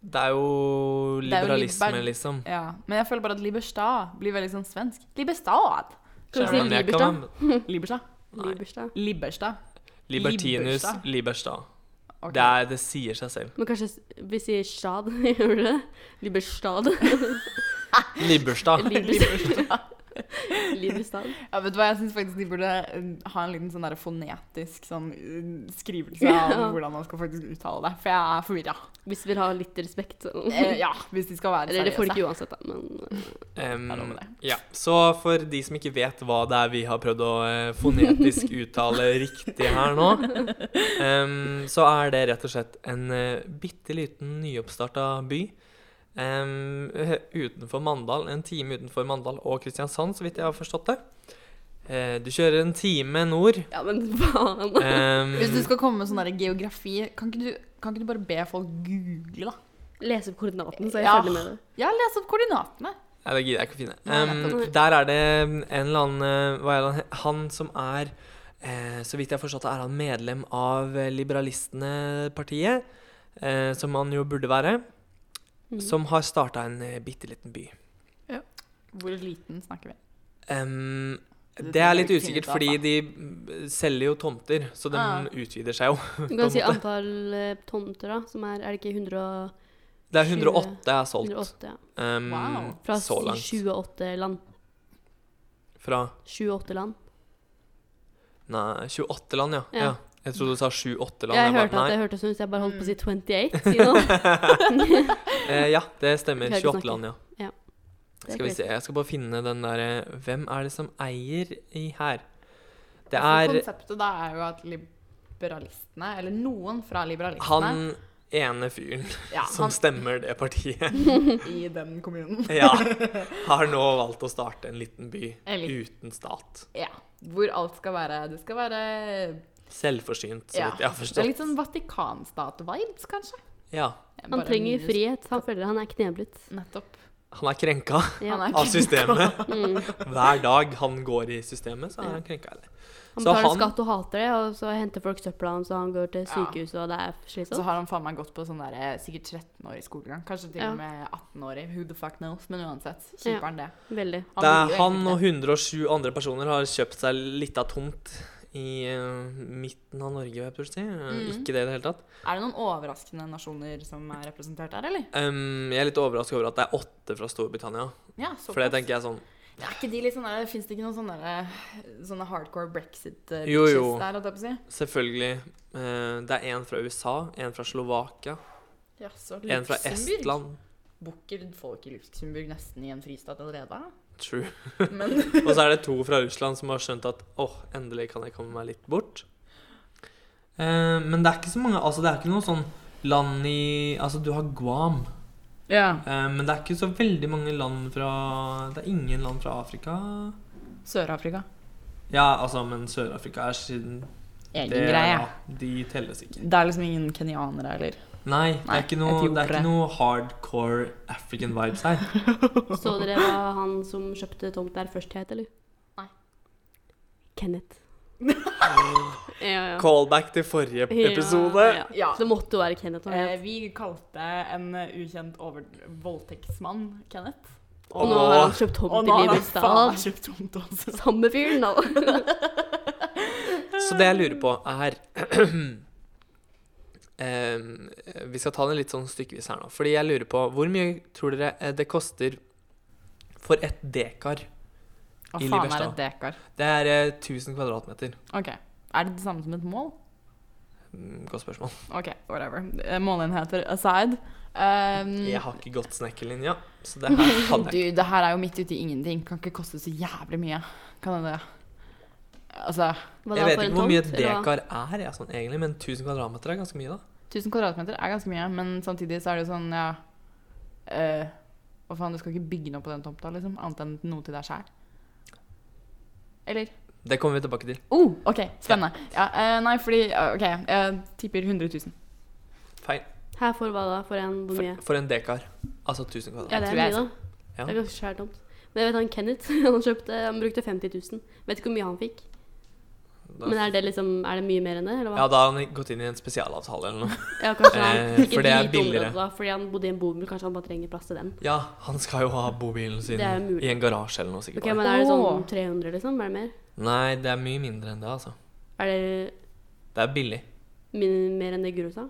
C: Det er jo
D: Det er jo
C: liberalisme,
D: liber-
C: liksom.
D: Ja, Men jeg føler bare at Liberstad blir veldig sånn svensk. Liberstad.
B: Kan du
C: Skjønner du?
B: si
C: Jeg kan
B: Liberstad?
C: være-
D: Liberstad.
B: Liberstad.
D: Liberstad.
C: Libertinus
D: Liberstad.
C: Liberstad.
D: Ok.
C: Det, er, det sier seg selv.
B: Men kanskje s- vi sier stad, <laughs> gjør vi det? <laughs> Liberstad.
D: <laughs> <laughs> Liberstad.
C: Liberstad.
B: Liberstad.
D: <laughs> Ja, vet du hva, Jeg syns faktisk de burde eh, ha en liten sånn der fonetisk sånn, eh, skrivelse
B: Ja.
D: av hvordan man skal faktisk uttale det. For jeg er forvirra.
B: Hvis vi vil ha litt respekt.
D: <laughs>
B: sånn.
D: Eh, ja, hvis de skal være
B: Eller det får
D: seriøse.
B: de ikke uansett, da. Men
C: Em,
D: Jeg lover det.
C: ja. Så for de som ikke vet hva det er vi har prøvd å eh,
D: <laughs>
C: fonetisk uttale riktig her nå, em, så er det rett og slett en uh, bitte liten nyoppstarta by. em, eh, utenfor Mandal, En time utenfor Mandal og Kristiansand, så vidt jeg har forstått det. Eh, du kjører en time
D: <laughs>
C: nord.
B: ja, men <laughs> faen.
C: em,
D: Hvis du skal komme med sånn der geografi, kan ikke, du, kan ikke du bare be folk google, da?
B: Les opp koordinatene, så jeg
D: Ja.
B: følger med det.
D: Ja, les opp koordinatene.
C: Nei, det gidder jeg ikke å finne.
D: Nei,
C: Um,
B: nettopp.
C: der er det en eller annen eh, Hva er det han he- Han som er eh, Så vidt jeg har forstått, er han medlem av eh, Liberalistene-partiet. Eh, som han jo burde være.
B: Mhm.
C: Som har starta en eh, bitte liten by.
D: Hvor liten snakker vi?
C: Em,
D: Det
C: det er litt
D: tror jeg vi finner
C: usikkert,
D: ut av,
C: fordi de mm, selger jo tomter, så de
D: Ah.
C: utvider seg jo.
B: Du kan si antall eh, tomter, da. Som er Er det ikke 100 og,
C: Det er 108 er solgt
B: 108? Ja.
C: em,
D: Wow.
B: Fra
C: så langt.
B: 28 land.
C: Fra
B: 28 land.
C: Nei, 28 land, ja.
B: Ja.
C: ja. Jeg trodde du sa 7-8 land.
B: Jeg
C: bare,
B: hørte at
C: nei.
B: jeg hørte sånn ut, jeg bare holdt på å
D: Mm.
B: si 28. Si <laughs> noe.
C: Eh, ja, det stemmer.
B: Jeg klarer ikke å
C: 28 land, ja.
B: Ja. Det er
C: <laughs> Skal vi
B: korrekt.
C: se, jeg skal bare finne den derre Hvem er det som eier i her? Det er
D: Altså, Konseptet da er jo at liberalistene, eller noen fra liberalistene
C: han ene fyren
D: ja,
C: som stemmer det
D: <laughs>
C: partiet.
D: han i den kommunen. <laughs>
C: Ja. Har nå valgt å starte en liten by
D: Eller,
C: uten stat.
D: ja, hvor alt skal være Det skal være
C: Selvforsynt, så
D: ja,
C: vidt jeg har
D: Det er litt
C: forstått.
D: sånn Vatikanstat-vibes, kanskje.
C: Ja.
B: Han
D: Bare
B: trenger
D: minus-
B: frihet. Han føler han er kneblet.
D: Nettopp.
C: Han er krenka
D: <laughs>
B: Ja.
D: Han er
C: av systemet.
B: Mm.
C: Hver dag han går i systemet, så er han krenka.
B: Han
C: Så
B: betaler
C: han-
B: skatt og hater det, og så henter folk søpla hans, og han går til sykehuset, og det er
D: Så
B: slitsomt.
D: har han faen meg gått på sånn der, eh, sikkert 13 år i skolegang. Kanskje til og med 18 år i Who the fuck knows? Men uansett,
B: Ja.
D: kjiper han det. <laughs>
B: Veldig.
C: Det
D: vil
C: er
D: jo
C: han
D: egentlig
C: og 107 andre personer har kjøpt seg litt av tomt i eh, midten av Norge, vil jeg prøve å si. Eh,
D: Mhm.
C: Ikke det i det hele tatt.
D: det. Er det noen overraskende nasjoner som er representert der, eller?
C: Ehm, jeg er litt overrasket over at det er åtte fra Storbritannia.
D: Ja,
C: For det tenker jeg sånn
D: Er ikke de litt sånn der, Fins det ikke noen sånne, der, sånne hardcore brexit-bitches
C: Jo, jo.
D: der? holdt jeg på å si?
C: Selvfølgelig. eh, det er en fra USA, en fra Slovakia,
D: Jaså,
C: en fra
D: Luxemburg?
C: Estland.
D: Bukker folk i Luxembourg nesten i en fristat allerede?
C: <laughs> True.
D: Men
C: Og så er det to fra Russland som har skjønt at åh, endelig kan jeg komme meg litt bort. Eh, men det er ikke så mange Altså, det er ikke noe sånn land i Altså, du har Guam.
D: <laughs> ja.
C: Eh, Men det er ikke så veldig mange land fra Det er ingen land fra Afrika.
D: Sør-Afrika.
C: Ja, altså, men Sør-Afrika er siden
D: Egen
C: det,
D: greie.
C: ja, De telles ikke.
D: Det er liksom ingen kenyanere eller
C: Nei, det
D: Nei,
C: er ikke noe, det er
D: etiopiere.
C: ikke noe hardcore African vibes her.
B: Så dere hva han som kjøpte tomt der først het, eller?
D: Nei.
B: Kenneth. ja, ja.
C: <laughs> Callback til forrige episode.
B: Ja, ja.
D: Ja.
B: Så det måtte jo være Kenneth.
D: Eh,
B: Han het.
D: vi kalte en eh, ukjent over voldtektsmann Kenneth.
B: Og nå har han kjøpt
D: Og
B: tomt
D: nå
B: i
D: har han faen meg
B: Liverstad.
D: kjøpt tomt også.
B: <laughs> Samme <laughs> fyren, da.
C: Så det jeg lurer på, er <clears throat> Em, Vi skal ta det litt sånn stykkevis her nå. Fordi jeg lurer på Hvor mye tror dere eh, det koster for et dekar?
D: Hva
C: I
D: faen er
C: Liverstad.
D: et dekar?
C: Det er eh, 1000 kvadratmeter.
D: Ok. Er det det samme som et mål?
C: Mm, Godt spørsmål.
D: Ok, whatever. Eh, Målenheter aside.
B: Mm.
D: Um,
C: Jeg har ikke gått snekkerlinja, så det
D: <laughs>
B: <laughs>
C: her kan jeg ikke.
D: Du, det her er jo midt ute i ingenting. Kan ikke koste så jævlig mye. Kan det det? Altså,
B: Hva
C: Jeg
B: da,
C: vet
B: for en
C: ikke hvor mye et
B: tomt, eller hva?
C: dekar er, jeg, sånn, egentlig, men 1000 kvadratmeter er ganske mye, da.
D: 1000 kvadratmeter er ganske mye, men samtidig så er det jo sånn, ja eh, Hva faen, du skal ikke bygge noe på den tomta, liksom? Annet enn noe til deg sjæl. Eller?
C: Det kommer vi tilbake til.
D: Oh, OK, spennende. Ja, eh, nei, fordi eh, OK, jeg tipper 100 000.
C: Feil.
B: Her for hva da? For en hvor mye?
C: For, for en dekar. Altså 1000 kvadratmeter.
B: Ja, det
D: tror
B: er
D: jeg
B: mye, da. Det
C: Ja.
B: er ganske svært tomt. Men jeg vet han Kenneth, <laughs> han, kjøpte, han brukte 50 000. Vet ikke hvor mye han fikk.
C: Da-
B: Men er det liksom, er det mye mer enn det? Eller hva?
C: Ja, da har han gått inn i en spesialavtale eller noe.
B: Ja, kanskje han
C: Eh,
B: fikk
C: for
B: et
C: det er
B: lite
C: billigere.
B: område da, fordi han bodde i en bobil. Kanskje han bare trenger plass til den.
C: Ja, han skal jo ha bobilen sin
B: Det er jo mulig.
C: i en garasje eller noe, sikkert.
B: Ok,
C: bare.
B: Men er det sånn
D: Åh.
B: 300, liksom? Er det mer?
C: Nei, det er mye mindre enn det, altså.
B: Er det
C: Det er billig.
B: min, mer enn det Guro sa?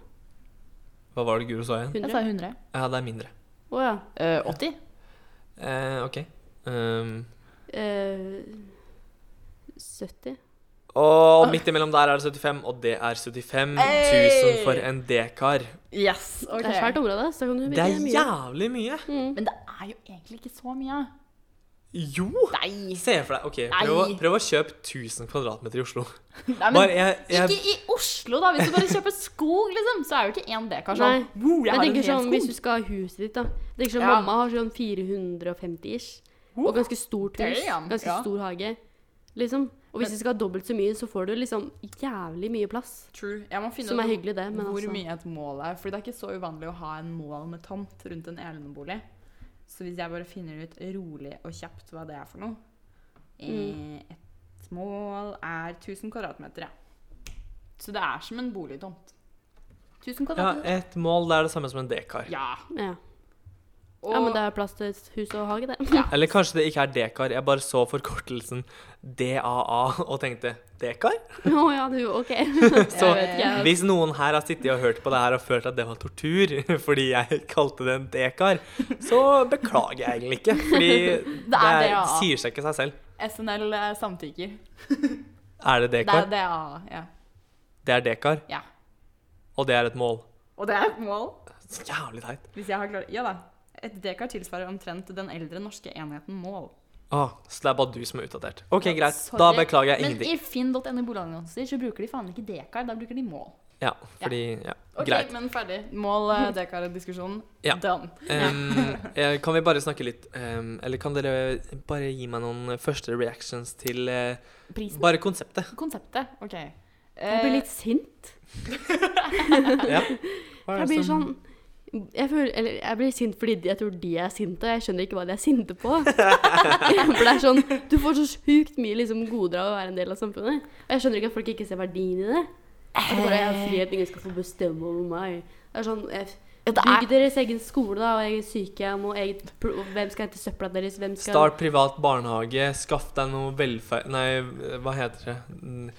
C: Hva var det Guro sa igjen?
D: Jeg
B: 100?
D: sa 100.
C: Ja, det er mindre.
B: Å ja.
D: Eh, 80?
C: Eh, OK. Um,
B: Eh, 70? Ah.
C: og midt imellom der er det 75, og det er 75 000 for en dekar.
D: Yes. ok.
B: Det er svært område, så kan du
C: Det er
B: mye.
C: jævlig mye.
B: Mm.
D: Men det er jo egentlig ikke så mye.
C: Jo!
D: Nei.
C: Se for deg, ok,
D: Nei.
C: prøv, å- prøv å kjøpe 1000 kvadratmeter i Oslo.
D: Nei, men
C: Bare, jeg, jeg,
D: Ikke i Oslo, da. Hvis du bare kjøper skog, liksom, så er jo ikke én dekar sånn.
B: Nei.
D: Wow, jeg
B: Men
D: har en
B: jeg
D: hel
B: tenker sånn, Hvis
D: skog.
B: du skal ha huset ditt, da. Jeg tenker sånn,
D: Ja.
B: Mamma har sånn 450 ish. Og ganske stort hus.
D: Damn,
B: Ganske
D: ja.
B: stor hage. Liksom. Og hvis
D: Men-
B: du skal ha dobbelt så mye, så får du liksom jævlig mye plass.
D: True. Jeg må finne
B: Som er
D: ut
B: hyggelig, det, men
D: hvor
B: altså
D: mye et mål er. Fordi det er ikke så uvanlig å ha en mål med tomt rundt en elenebolig. Så hvis jeg bare finner ut rolig og kjapt hva det er for noe eh,
B: Mm.
D: Et mål er 1000 kvadratmeter, ja. Så det er som en boligtomt. 1000
C: ja, eh,
D: kvadratmeter.
C: et mål det er det samme som en dekar.
D: Ja.
B: Ja.
D: Og,
B: Ja, men det er plass til hus og hage, det. <laughs>
C: Eller kanskje det ikke er dekar. Jeg bare så forkortelsen DAA og tenkte dekar?
B: Å ja, du,
D: <laughs>
B: OK.
C: Så
D: Jeg vet
B: ikke.
C: hvis noen her har sittet og hørt på det her og følt at det var tortur <laughs> fordi jeg kalte det en dekar, så beklager jeg egentlig ikke.
D: <laughs>
C: Fordi
D: Det
C: det,
D: er
C: er,
D: DAA.
C: sier seg ikke seg selv.
D: SNL eh, samtykker.
C: Er det
D: Det er
C: dekar?
D: DA, ja.
C: Det er dekar,
D: ja.
C: og det er et mål.
D: Og det er et mål.
C: Så jævlig teit.
D: Hvis jeg har klart Ja da. Et dekar tilsvarer omtrent den eldre norske enheten mål.
C: Åh, så det er bare du som er utdatert. OK,
D: Ja,
C: greit.
D: sorry.
C: Da beklager jeg
D: Men
C: ingenting.
D: i finn.no boligannonser så bruker de faen ikke dekar, da bruker de mål.
C: Ja, fordi Ja,
D: Ok,
C: greit.
D: men ferdig. Mål, eh, dekar-diskusjonen.
C: Ja.
D: Done.
C: Ehm, eh, kan vi bare snakke litt ehm, Eller kan dere bare gi meg noen første reactions til eh, <laughs>
D: Prisen?
C: Bare konseptet.
D: Konseptet. OK.
B: Jeg
D: Eh,
B: blir
D: <laughs>
B: litt sint.
C: Ja.
B: Jeg blir sånn jeg, føler, eller, jeg blir sint fordi de- jeg tror de er sinte, og jeg skjønner ikke hva de er sinte på. For det er sånn, Du får så sjukt mye liksom, goder av å være en del av samfunnet. Og jeg skjønner ikke at folk ikke ser verdien i det. Jeg bare, jeg har frihet, ingen skal få bestemme over meg. Det er sånn, jeg,
D: det er-
B: Bygg deres egen skole da, og eget sykehjem. Og eget, pl- og hvem skal hente søpla deres? Hvem skal
C: Start privat barnehage, skaff deg noe velferd... Nei, hva heter det? Mm,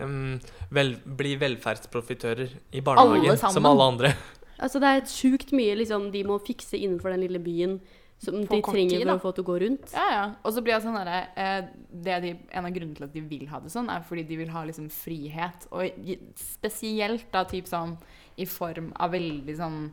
C: ehm, vel, bli velferdsprofitører i barnehagen,
D: Alle sammen.
C: som alle andre.
B: Altså Det er sjukt mye liksom, de må fikse innenfor den lille byen som
D: På
B: de
D: kort
B: trenger
D: tid,
B: for
D: da.
B: å få til å gå rundt.
D: Ja, ja. Og så blir jeg sånn derre eh, det de, En av grunnene til at de vil ha det sånn, er fordi de vil ha liksom frihet. Og i- spesielt da typ sånn i form av veldig sånn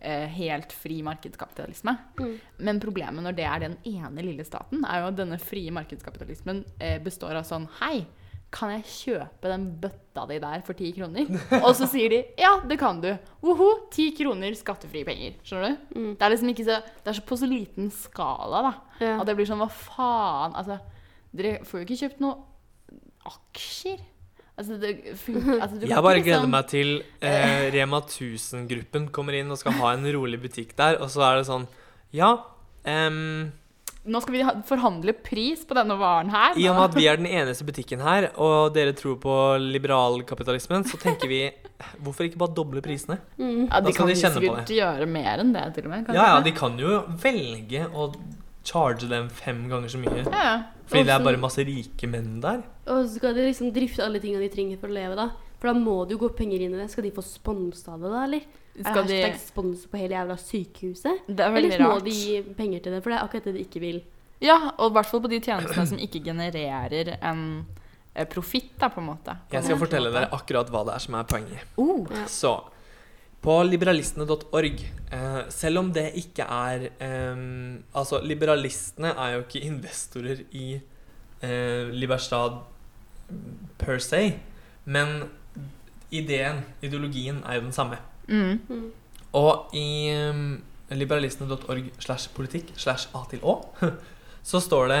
D: eh, helt fri markedskapitalisme.
B: Mm.
D: Men problemet når det er den ene lille staten, er jo at denne frie markedskapitalismen eh, består av sånn Hei, kan jeg kjøpe den bøtta di der for ti kroner? Og så sier de ja, det kan du. Woho, ti kroner skattefrie penger. Skjønner du?
B: Mm.
D: Det er liksom ikke så Det er så på så liten skala, da.
B: Ja.
D: At det blir sånn, hva faen? Altså, dere får jo ikke kjøpt noe aksjer. Altså, det
B: <laughs>
D: funker altså, du kan
C: Jeg bare
D: ikke
C: gleder
D: liksom-
C: meg til eh, Rema 1000-gruppen kommer inn og skal ha en rolig butikk der, og så er det sånn Ja, ehm,
D: Nå skal vi ha, forhandle pris på denne varen her.
C: I og med at vi er den eneste butikken her, og dere tror på liberalkapitalismen, så tenker vi Hvorfor ikke bare doble prisene?
B: Mm.
D: <laughs> ja,
C: da
D: de
C: skal
D: kan
C: de
D: jo
C: kjenne på
D: sikkert gjøre mer enn det, til og med. kan
C: Ja ja,
D: de
C: de kan jo velge å charge dem fem ganger så mye.
D: ikke? ja, ja.
C: Fordi det er bare masse rike menn der.
B: Og så skal de liksom drifte alle tingene de trenger for å leve, da. For da må det jo gå penger inn i det. Skal de få sponsa det, da, eller?
D: Skal
B: er
D: de,
B: det hashtag spons på hele jævla sykehuset?
D: det er veldig
B: Eller må
D: rart.
B: de gi penger til det? For det er akkurat det de ikke vil.
D: Ja, og i hvert fall på de tjenestene som ikke genererer en eh, profitt, da, på en måte. På en
C: Jeg skal
D: måte.
C: fortelle dere akkurat hva det er som er poenget.
D: Oh,
B: Ja.
C: Så på liberalistene.org eh, Selv om det ikke er eh, Altså, liberalistene er jo ikke investorer i eh, Liberstad per se, men ideen, ideologien, er jo den samme.
D: mm. <laughs>
B: Mm.
C: Og i um, liberalistene.org slash politikk slash a til å, <laughs> så står det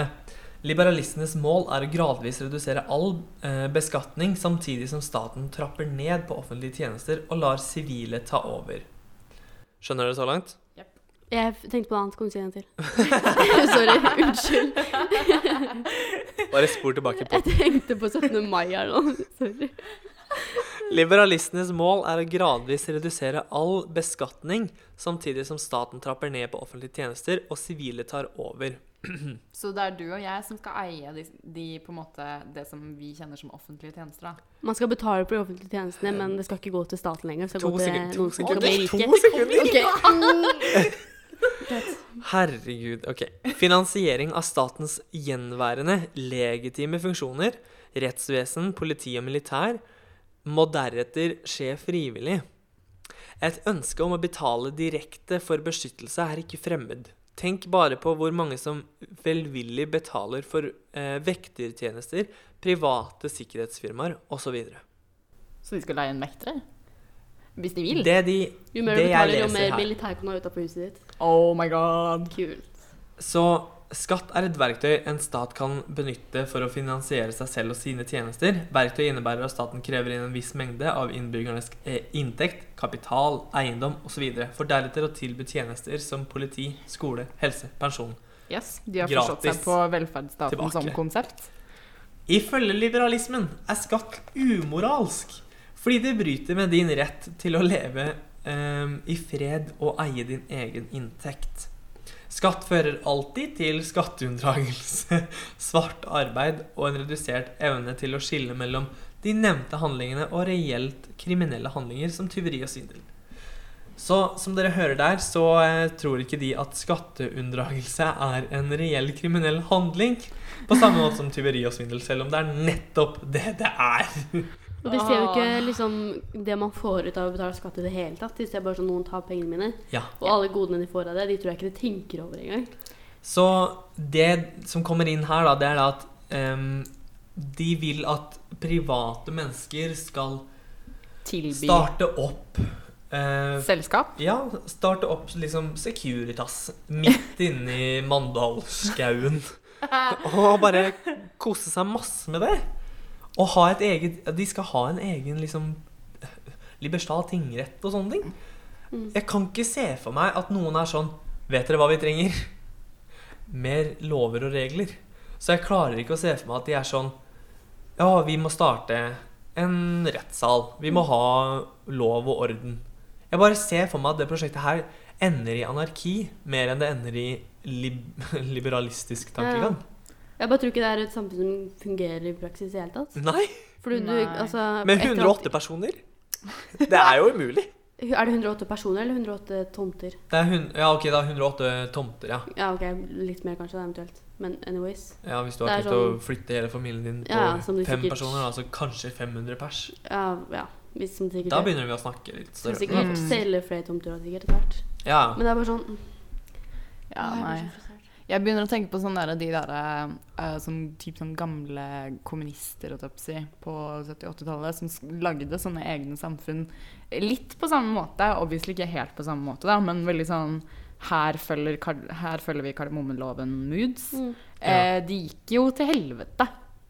C: Liberalistenes mål er å gradvis redusere all eh, beskatning, samtidig som staten trapper ned på offentlige tjenester og lar sivile ta over. Skjønner dere så langt?
B: Jeg f- tenkte på noe annet. Kom, si en
C: <laughs>
B: til. Sorry. Unnskyld. <laughs>
C: Bare spor tilbake på
B: Jeg tenkte på 17. mai her nå. Sorry.
C: Liberalistenes mål er å gradvis redusere all beskatning, samtidig som staten trapper ned på offentlige tjenester og sivile tar over.
D: Så det er du og jeg som skal eie de, de, på en måte, det som vi kjenner som offentlige tjenester, da?
B: Man skal betale for de offentlige tjenestene, men det skal ikke gå til staten lenger. Det skal
C: To
B: gå til
C: sekunder. To
B: noen som skal
C: sekunder.
B: bli
C: To
B: rike.
C: sekunder. <laughs>
B: Ok.
C: Herregud, ok. Finansiering av statens gjenværende legitime funksjoner, rettsvesen, politi og militær, må deretter skje frivillig. Et ønske om å betale direkte for beskyttelse er ikke fremmed. Tenk bare på hvor mange som velvillig betaler for eh, vektertjenester, private sikkerhetsfirmaer osv.
D: Så de skal leie en vektere? Hvis de vil?
C: Det, de,
B: Jo mer
C: det
B: du
C: jeg
B: betaler, jo
C: leser
B: mer
C: her
B: militærkona er utafor huset ditt.
D: Oh my god.
B: Kult.
C: Så skatt er et verktøy en stat kan benytte for å finansiere seg selv og sine tjenester. Verktøy innebærer at staten krever inn en viss mengde av innbyggernes eh, inntekt, kapital, eiendom osv. for deretter å tilby tjenester som politi, skole, helse, pensjon.
D: Yes, De har forstått
C: Gratis
D: seg på velferdsstaten
C: tilbake.
D: som konsept.
C: Ifølge liberalismen er skatt umoralsk fordi det bryter med din ehm, rett til å leve eh, i fred og eie din egen inntekt. Skatt fører alltid til skatteunndragelse, <laughs> svart arbeid og en redusert evne til å skille mellom de nevnte handlingene og reelt kriminelle handlinger som tyveri og svindel. Så som dere hører der, så eh, tror ikke de at skatteunndragelse er en reell kriminell handling. På samme måte som tyveri og svindel, selv om det er nettopp det det er.
B: Og de ser jo
C: Ah.
B: ikke liksom, det man får ut av å betale skatt i det hele tatt. De ser bare sånn noen tar pengene mine.
C: Ja.
B: Og alle godene de får av det, de tror jeg ikke de tenker over engang.
C: Så det som kommer inn her, da, det er da at em, de vil at private mennesker skal
D: Tilby
C: starte opp eh,
D: selskap.
C: Ja, starte opp liksom Securitas midt inni Mandalskauen. Og bare kose seg masse med det. Og ha et eget De skal ha en egen liksom Liberstad tingrett og sånne ting.
B: Mm.
C: Jeg kan ikke se for meg at noen er sånn Vet dere hva vi trenger? Mer lover og regler. Så jeg klarer ikke å se for meg at de er sånn Ja, vi må starte en rettssal. Vi må ha lov og orden. Jeg bare ser for meg at det prosjektet her ender i anarki mer enn det ender i lib <laughs> liberalistisk tankegang.
B: Jeg bare tror ikke det er et samfunn som fungerer i praksis i det hele tatt.
C: Nei,
B: Fordi du,
D: Nei.
B: altså,
C: men
B: etter at-
C: 108 personer? Det er jo umulig.
B: Er det 108 personer eller 108 tomter?
C: Det er hun, ja, ok, det er 108 tomter, ja.
B: Ja, ok, litt mer kanskje, da, eventuelt. Men anyways.
C: ja hvis du har
B: Det er sånn-
C: tenkt å flytte hele familien din på
B: Ja, som du
C: fem
B: sikkert-
C: personer, altså kanskje 500 pers,
B: Ja, ja. Hvis som sikkert
C: da begynner vi å snakke litt
B: Skal
C: større.
B: sikkert
D: Mm.
B: selge flere tomter også, sikkert etter hvert.
C: Ja,
B: Men det er bare sånn
D: Ja,
B: Åh, jeg blir
D: nei.
B: så frustrert.
D: Jeg begynner å tenke på sånne der, de der, eh, sånn, typ sånn gamle kommunister holdt jeg på å si, på 70-80-tallet som s- lagde sånne egne samfunn litt på samme måte. Obviously ikke helt på samme måte, da, men veldig sånn her følger, kar- her følger vi kardemommeloven moods.
B: Mm.
D: Eh, de gikk jo til helvete,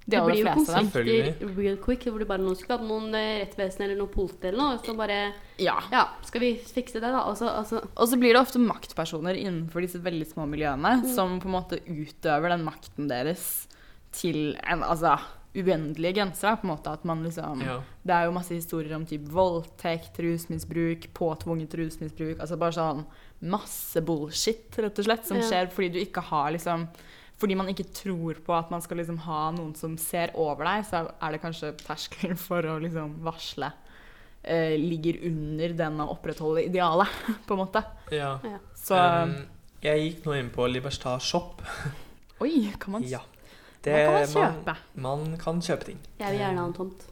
D: de
B: Det blir
D: aller
B: jo
D: fleste av dem.
B: konflikter real quick. Hvor det bare noen skulle hatt noen eh, rettsvesen eller noe politi eller noe. Og så bare
D: Ja.
B: Ja, skal vi fikse det, da? Og så altså,
D: Og så blir det ofte maktpersoner innenfor disse veldig små miljøene
B: Mm.
D: som på en måte utøver den makten deres til en, altså, uendelige grenser. da, på en måte at man liksom...
C: ja.
D: Det er jo masse historier om typ voldtekt, rusmisbruk, påtvunget rusmisbruk. Altså bare sånn masse bullshit, rett og slett, som
B: Ja.
D: skjer fordi du ikke har liksom fordi man ikke tror på at man skal liksom ha noen som ser over deg, så er det kanskje terskelen for å liksom varsle eh, ligger under den å opprettholde idealet, <laughs> på en måte.
C: ja.
D: Så
C: Um, jeg gikk nå inn på Liberstad Shop.
D: Oi, kan man,
C: Ja.
D: hva kan man
C: man,
D: kjøpe?
C: man kan kjøpe ting.
B: jeg vil gjerne ha en tomt.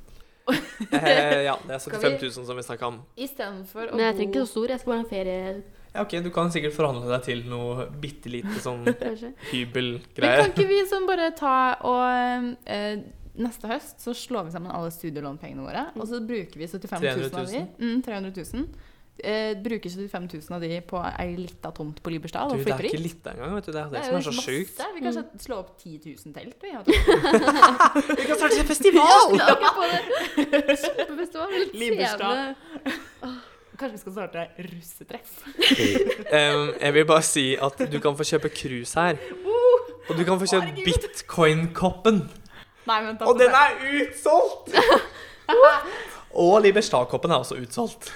C: Eh, <laughs> ja, det er
D: Skal
C: 75
D: vi-
C: 000 som vi snakka om.
D: Istedenfor
B: Men jeg trenger ikke så stor. Jeg skal bare ha en ferie,
C: Ja, ok, Du kan sikkert forhandle deg til noe bitte lite sånn
D: <laughs>
B: kanskje.
D: Men kan
C: hybelgreie.
D: ikke vi sånn bare ta og eh, Neste høst så slår vi sammen alle studielånpengene våre, og så bruker vi 75 000 av de.
C: 300 000.
D: Mm, 300 000. Eh, bruker 75 000 av de på ei lita tomt på Liberstad
C: Du,
D: og
C: det er
D: flytter dit.
C: ikke lite engang, vet du. Det er det som er så sjukt. <laughs>
D: Vi kan kanskje slå opp 10 000 telt. <laughs> Vi, og ta-
C: Vi kan starte en <laughs> festival!
D: <laughs> Ja.
B: <laughs> Kjempefestival. litt
D: Liberstad.
B: scene.
D: Kanskje vi skal starte russetreff.
C: Em, jeg vil bare si at du kan få kjøpe krus her.
D: Uh.
C: Og du kan få kjøpt bitcoin-koppen.
D: Nei, vent da.
C: Og den er
B: <laughs>
C: utsolgt! Og Liberstad-koppen er også utsolgt.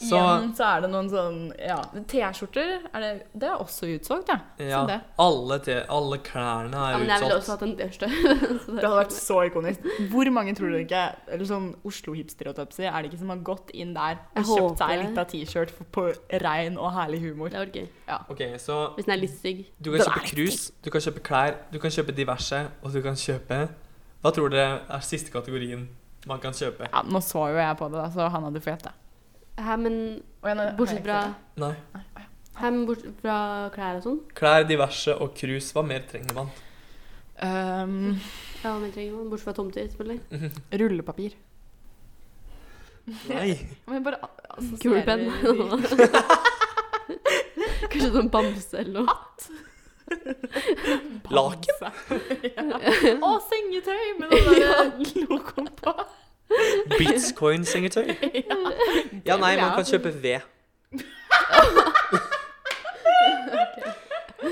C: Så
D: Igjen så er det noen sånn ja, T-skjorter er det, det er også utsolgt, ja.
C: ja,
D: Som det.
C: alle, te, alle klærne
B: Ja,
C: er
B: men jeg ville også
C: utsolgt.
B: hatt en dørstø. <laughs>
D: Det hadde vært så ikonisk. Hvor mange tror dere ikke Eller sånn Oslo-hipstereotopsi er det ikke som har gått inn der
B: Jeg
D: og kjøpt
B: håper
D: seg
B: det.
D: litt av T-shirt for- på rein og herlig humor?
B: Det hadde vært gøy.
C: Ok, så
B: Hvis den er litt stygg.
C: Du kan
D: Den
C: kjøpe
D: er
C: krus, du kan kjøpe klær, du kan kjøpe diverse, og du kan kjøpe Hva tror dere er siste kategorien man kan kjøpe?
D: Ja, nå så jo jeg på det, da, så han hadde fått det.
B: Her, men bortsett fra,
C: Nei.
B: her, men bortsett fra klær og sånn.
C: Klær, diverse og krus. Hva mer trenger
B: <laughs>
C: man?
D: um,
B: Ja, men jeg trenger jo- Bortsett fra tomter, selvfølgelig.
D: Rullepapir.
C: Nei.
D: Men jeg bare a- assosierer-
B: Kulepenn. <laughs> Kanskje sånn bamse
D: <laughs>
B: eller noe. <laughs>
C: Laken?
D: ja. Og sengetøy <laughs> med den der logoen på.
B: <laughs>
C: Bitcoin-sengetøy? Ja, nei, man kan kjøpe ved.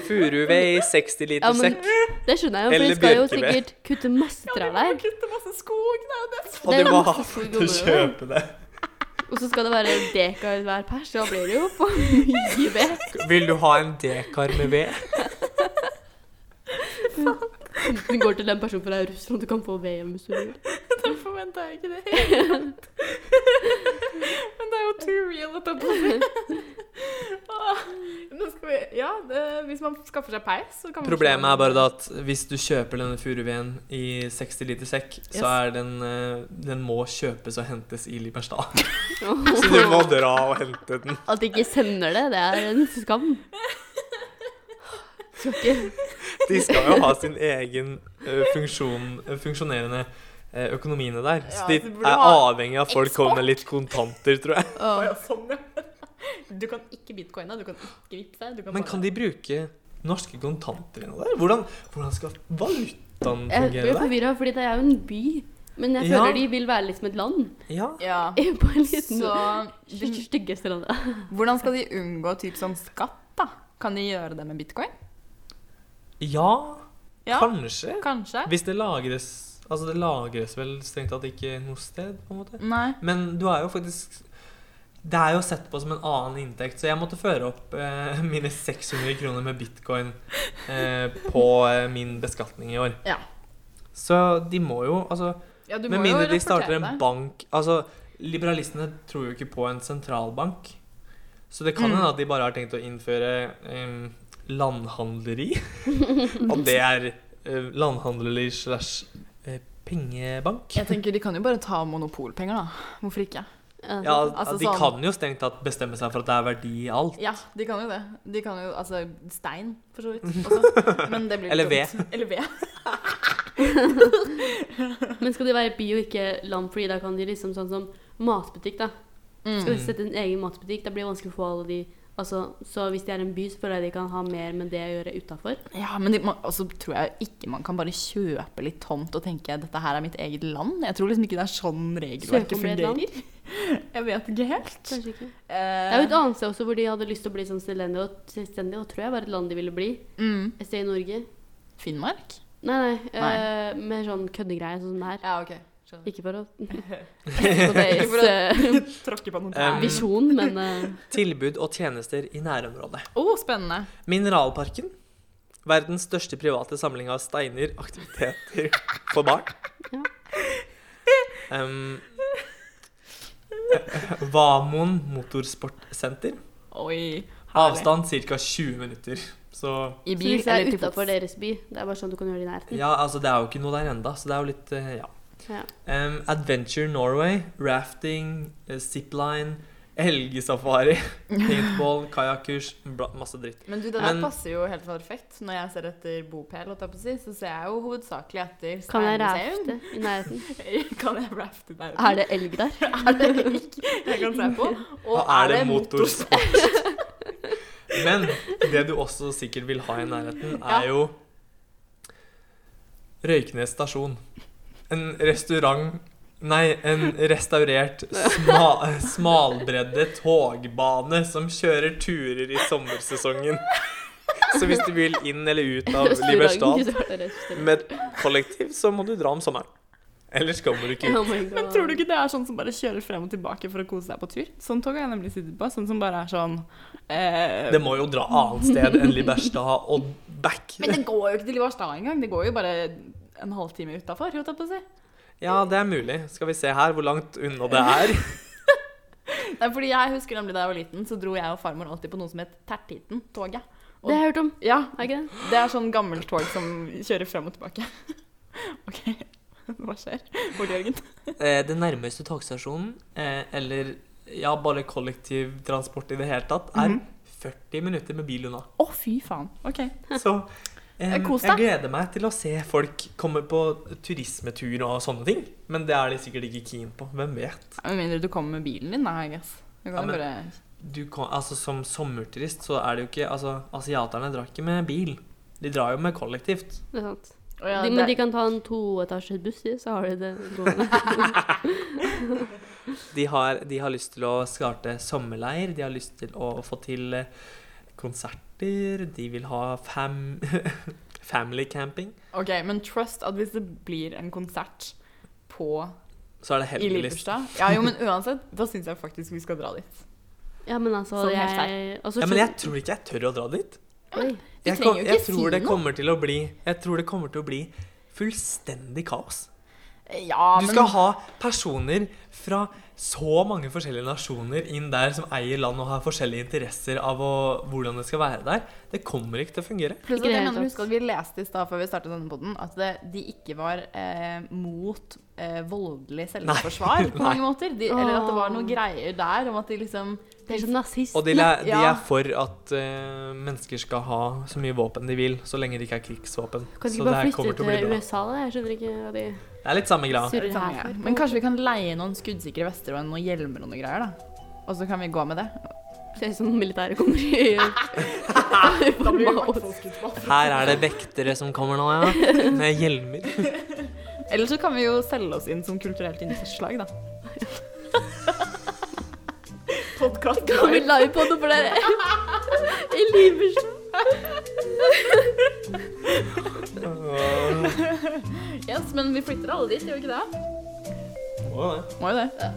C: Furuved i 60
B: Ja,
C: liter
B: men-
C: sekk.
B: Det skjønner jeg jo, for
C: Eller
B: de skal jo
C: bjørkeved.
B: sikkert kutte masse
D: Ja,
B: trær
D: de må
B: der.
D: kutte masse skog, det er jo det.
C: Og
B: Det er
C: du må
B: masse
C: ha
B: skog
C: for å
B: under.
C: kjøpe det.
B: Og så skal det være dekar hver pers. Da blir det jo for mye ved.
C: Vil du ha en dekar med ved?
B: Du går til den personen for deg i Russland, du kan få ved hjem hvis du vil.
D: Da forventa jeg ikke det helt. <laughs> Men det er jo too real å ta på seg. Åh, Nå skal vi, ja, det, hvis man skaffer seg peis, så kan man
C: Problemet er bare da at hvis du kjøper denne furuveden i 60 liter sekk,
D: Yes.
C: så er den eh, Den må kjøpes og hentes
B: <laughs>
C: i Liberstad.
B: Åh.
C: Så du må dra og hente den.
B: At de ikke sender det, det er en skam. Skal ikke
C: De skal jo ha sin egen eh, funksjon, eh, funksjonerende eh, økonomiene der.
D: Ja,
C: Så de
D: så burde
C: er
D: ha
C: avhengig av at folk kommer med litt kontanter, tror jeg.
D: Å, ja, sånn, ja. Du kan ikke bitcoine, du kan ikke vippse. Du kan
C: Men kan de bruke norske kontanter inne der? Hvordan, hvordan skal valutaen
B: Eh, Jeg
C: fungere
B: blir
C: der?
B: forvirra, fordi det er jo en by. Men jeg
C: Ja.
B: føler de vil være litt som et land.
C: Ja.
D: Ja.
B: På en
D: <laughs>
B: liten
D: Så
B: Det styggeste landet.
D: hvordan skal de unngå typ sånn skatt, da? Kan de gjøre det med bitcoin?
C: ja, kanskje.
D: Kanskje.
C: Hvis det lagres Altså, det lagres vel strengt tatt ikke noe sted, på en måte.
D: Nei.
C: Men du er jo faktisk Det er jo sett på som en annen inntekt, så jeg måtte føre opp eh, <laughs> mine 600 kroner med bitcoin eh, på eh, min beskatning i år.
D: Ja.
C: Så de må jo Altså,
D: Ja, du
C: med
D: må jo
C: mindre de
D: rapportere
C: starter en
D: det.
C: bank Altså, liberalistene tror jo ikke på en sentralbank. Så det kan
D: Mm.
C: hende at de bare har tenkt å innføre eh,
D: <laughs>
C: landhandleri. Og det er eh, landhandleri slash eh, pengebank.
D: Jeg tenker De kan jo bare ta monopolpenger, da. Hvorfor ikke?
C: Ja,
D: Altså
C: de
D: sånn-
C: kan jo strengt tatt bestemme seg for at det er verdi i alt.
D: Ja, de kan jo det. De kan jo, altså, Stein, for
C: <laughs>
D: så vidt. Også. Men det blir litt
C: Eller
D: dumt. Eller ved.
B: Men skal de være by og ikke land, fordi da kan de liksom sånn som matbutikk, da.
D: Mm.
B: Skal de sette en egen matbutikk, da blir det vanskelig å få alle de Altså, så hvis de er en by, så føler jeg de kan ha mer med det å gjøre utafor.
D: Ja, men de, man, altså, tror jeg ikke man kan bare kjøpe litt tomt og tenke dette her er mitt eget land. Jeg tror liksom ikke det er sånn
B: Søke
D: regelverket
B: om det er et land?
D: fungerer. Jeg vet ikke helt.
B: Kanskje ikke. Det er jo
D: Eh,
B: et annet sted også hvor de hadde lyst til å bli sånn selvstendige, og selvstendige, og tror jeg var et land de ville bli.
D: mm,
B: Et sted i Norge.
D: Finnmark?
B: Nei, nei.
D: Nei.
B: eh, mer sånn køddegreie, sånn som det her.
D: Ja, ok.
B: Ikke for å
D: Ikke <laughs>
B: deres eh,
D: tråkke på noen
C: tær.
D: tær. Å,
B: visjon, men eh,
C: Tilbud og tjenester i nærområdet.
D: spennende.
C: Mineralparken. Verdens største private samling av steiner, aktiviteter for barn.
B: Ja.
C: Um, Vamoen motorsportsenter.
D: Oi.
C: Avstand ca. 20 minutter. Så
D: <laughs> I
B: Så
D: bil
B: hvis det er
D: eller til
B: utafor
D: fots.
B: deres by, det er bare sånn du kan gjøre det i nærheten.
C: Ja, altså, det er jo ikke noe der enda, så det er jo litt eh, Ja.
B: Ja.
C: Um, Adventure Norway, rafting, eh, zipline, elgesafari, <laughs> paintball, kajakkurs, bla- masse dritt.
D: Men du, det der
C: Men-
D: passer jo helt perfekt. Når jeg ser etter bopel, holdt jeg på å si, så ser jeg jo hovedsakelig etter
B: Kan jeg
D: steinmuseum.
B: rafte i nærheten?
D: <laughs> Kan jeg rafte der?
B: Er det elg der?
D: <laughs> Er det ikke? Jeg kan se på.
C: Og er det motorsport? <laughs> Men det du også sikkert vil ha i nærheten,
D: Ja.
C: er jo Røyknes stasjon. En restaurant Nei, en restaurert sma, smalbredde togbane som kjører turer i sommersesongen. Så hvis du vil inn eller
B: <laughs>
C: ut av Liberstad
B: Restaurant, så er det restaurant.
C: med kollektiv, så må du dra om sommeren. Ellers kommer du ikke ut.
B: Oh my
D: <laughs>
B: God.
D: Men tror du ikke det er sånn som bare kjører frem og tilbake for å kose seg på tur? Sånn tog har jeg nemlig sittet på. Sånn som bare er sånn eh,
C: Det må jo dra annet sted enn Liberstad og back.
D: Men det går jo ikke til Livarstad engang. Det går jo bare en halvtime utafor, holdt jeg på å si.
C: Ja, det er mulig. Skal vi se her hvor langt unna det er.
D: Nei, fordi jeg husker nemlig da jeg var liten, så dro jeg og farmor alltid på noe som het Tertiten-toget.
B: Det har jeg hørt om.
D: Ja,
B: Er ikke det?
D: det er sånn gammelt tog som kjører frem og tilbake. <laughs> OK, <laughs> hva skjer? Bård Jørgen?
C: Eh, Den nærmeste togstasjonen, eh, eller ja, bare kollektivtransport i det hele tatt, er
D: Mhm.
C: 40 minutter med
D: <laughs>
C: bil unna.
D: Å, fy faen. OK.
C: Så eh,
D: Eh, kos
C: jeg
D: deg.
C: gleder meg til å se folk komme på turismetur og sånne ting. Men det er de sikkert ikke keen på. Hvem vet?
D: Med mindre du kommer med bilen din, da, I guess. Du
C: Ja,
D: kan jo
C: men-
D: bare
C: Du kan, altså, som sommerturist så er det jo ikke Altså, asiaterne drar ikke med bil. De drar jo med kollektivt.
B: Det er sant.
D: Å ja,
B: de,
D: det-
B: men de kan ta en toetasjes buss, de, så har de det
D: <laughs>
B: gående.
C: De har, de har lyst til å starte sommerleir, de har lyst til å få til eh, konserter, de vil ha fam <laughs> family camping.
D: Ok, men trust at hvis det blir en konsert på
C: så er det
D: I
C: helgelist.
D: livbursdag. Ja, jo, men uansett, da syns jeg faktisk vi skal dra dit.
B: Ja, men altså
D: Sånn helt
B: jeg, altså,
C: Ja, men jeg tror ikke jeg tør å dra dit.
B: Oi.
D: Du
C: Jeg,
D: trenger
C: kom,
D: jo ikke
C: jeg tror
D: si
C: det
D: noe.
C: kommer til å bli Jeg tror det kommer til å bli fullstendig kaos.
D: Ja,
C: Du skal ha personer fra så mange forskjellige nasjoner inn der som eier land og har forskjellige interesser av å, hvordan det skal være der. Det kommer ikke til å fungere.
D: Pluss at
B: Ikke det
D: jeg
B: helt
D: mener,
B: sant.
D: husk at vi leste i stad før vi startet denne podden, at det, de ikke var eh, mot eh, voldelig selvforsvar på
C: Nei.
D: mange måter. De, eller at det var noen greier der om at de liksom
B: Det er som nazist.
C: Og de, læ- de
D: Ja.
C: er for at eh, mennesker skal ha så mye våpen de vil, så lenge det ikke er krigsvåpen.
B: Kan
C: Så
B: ikke
C: det
B: bare
C: her
B: flytte
C: kommer til å bli
B: til
C: bra.
B: USA, da? Jeg skjønner ikke hva de
C: Det er litt samme greia.
B: surrer
D: Sånn,
B: her
D: ja.
B: for.
D: Men kanskje vi kan leie noen skuddsikre vester og noen hjelmer og noen greier, da. Og så kan vi gå med det.
B: Ser ut som militæret
D: <laughs>
B: kommer i format.
C: Her er det vektere som kommer nå, ja.
B: <laughs>
C: Med hjelmer.
D: Eller så kan vi jo selge oss inn som kulturelt innslag, da. Podkast
B: Kan vi live på det for dere? I livbursdag.
D: Yes, men vi flytter alle dit, gjør vi ikke det?
C: Må jo det.
D: Må jo det.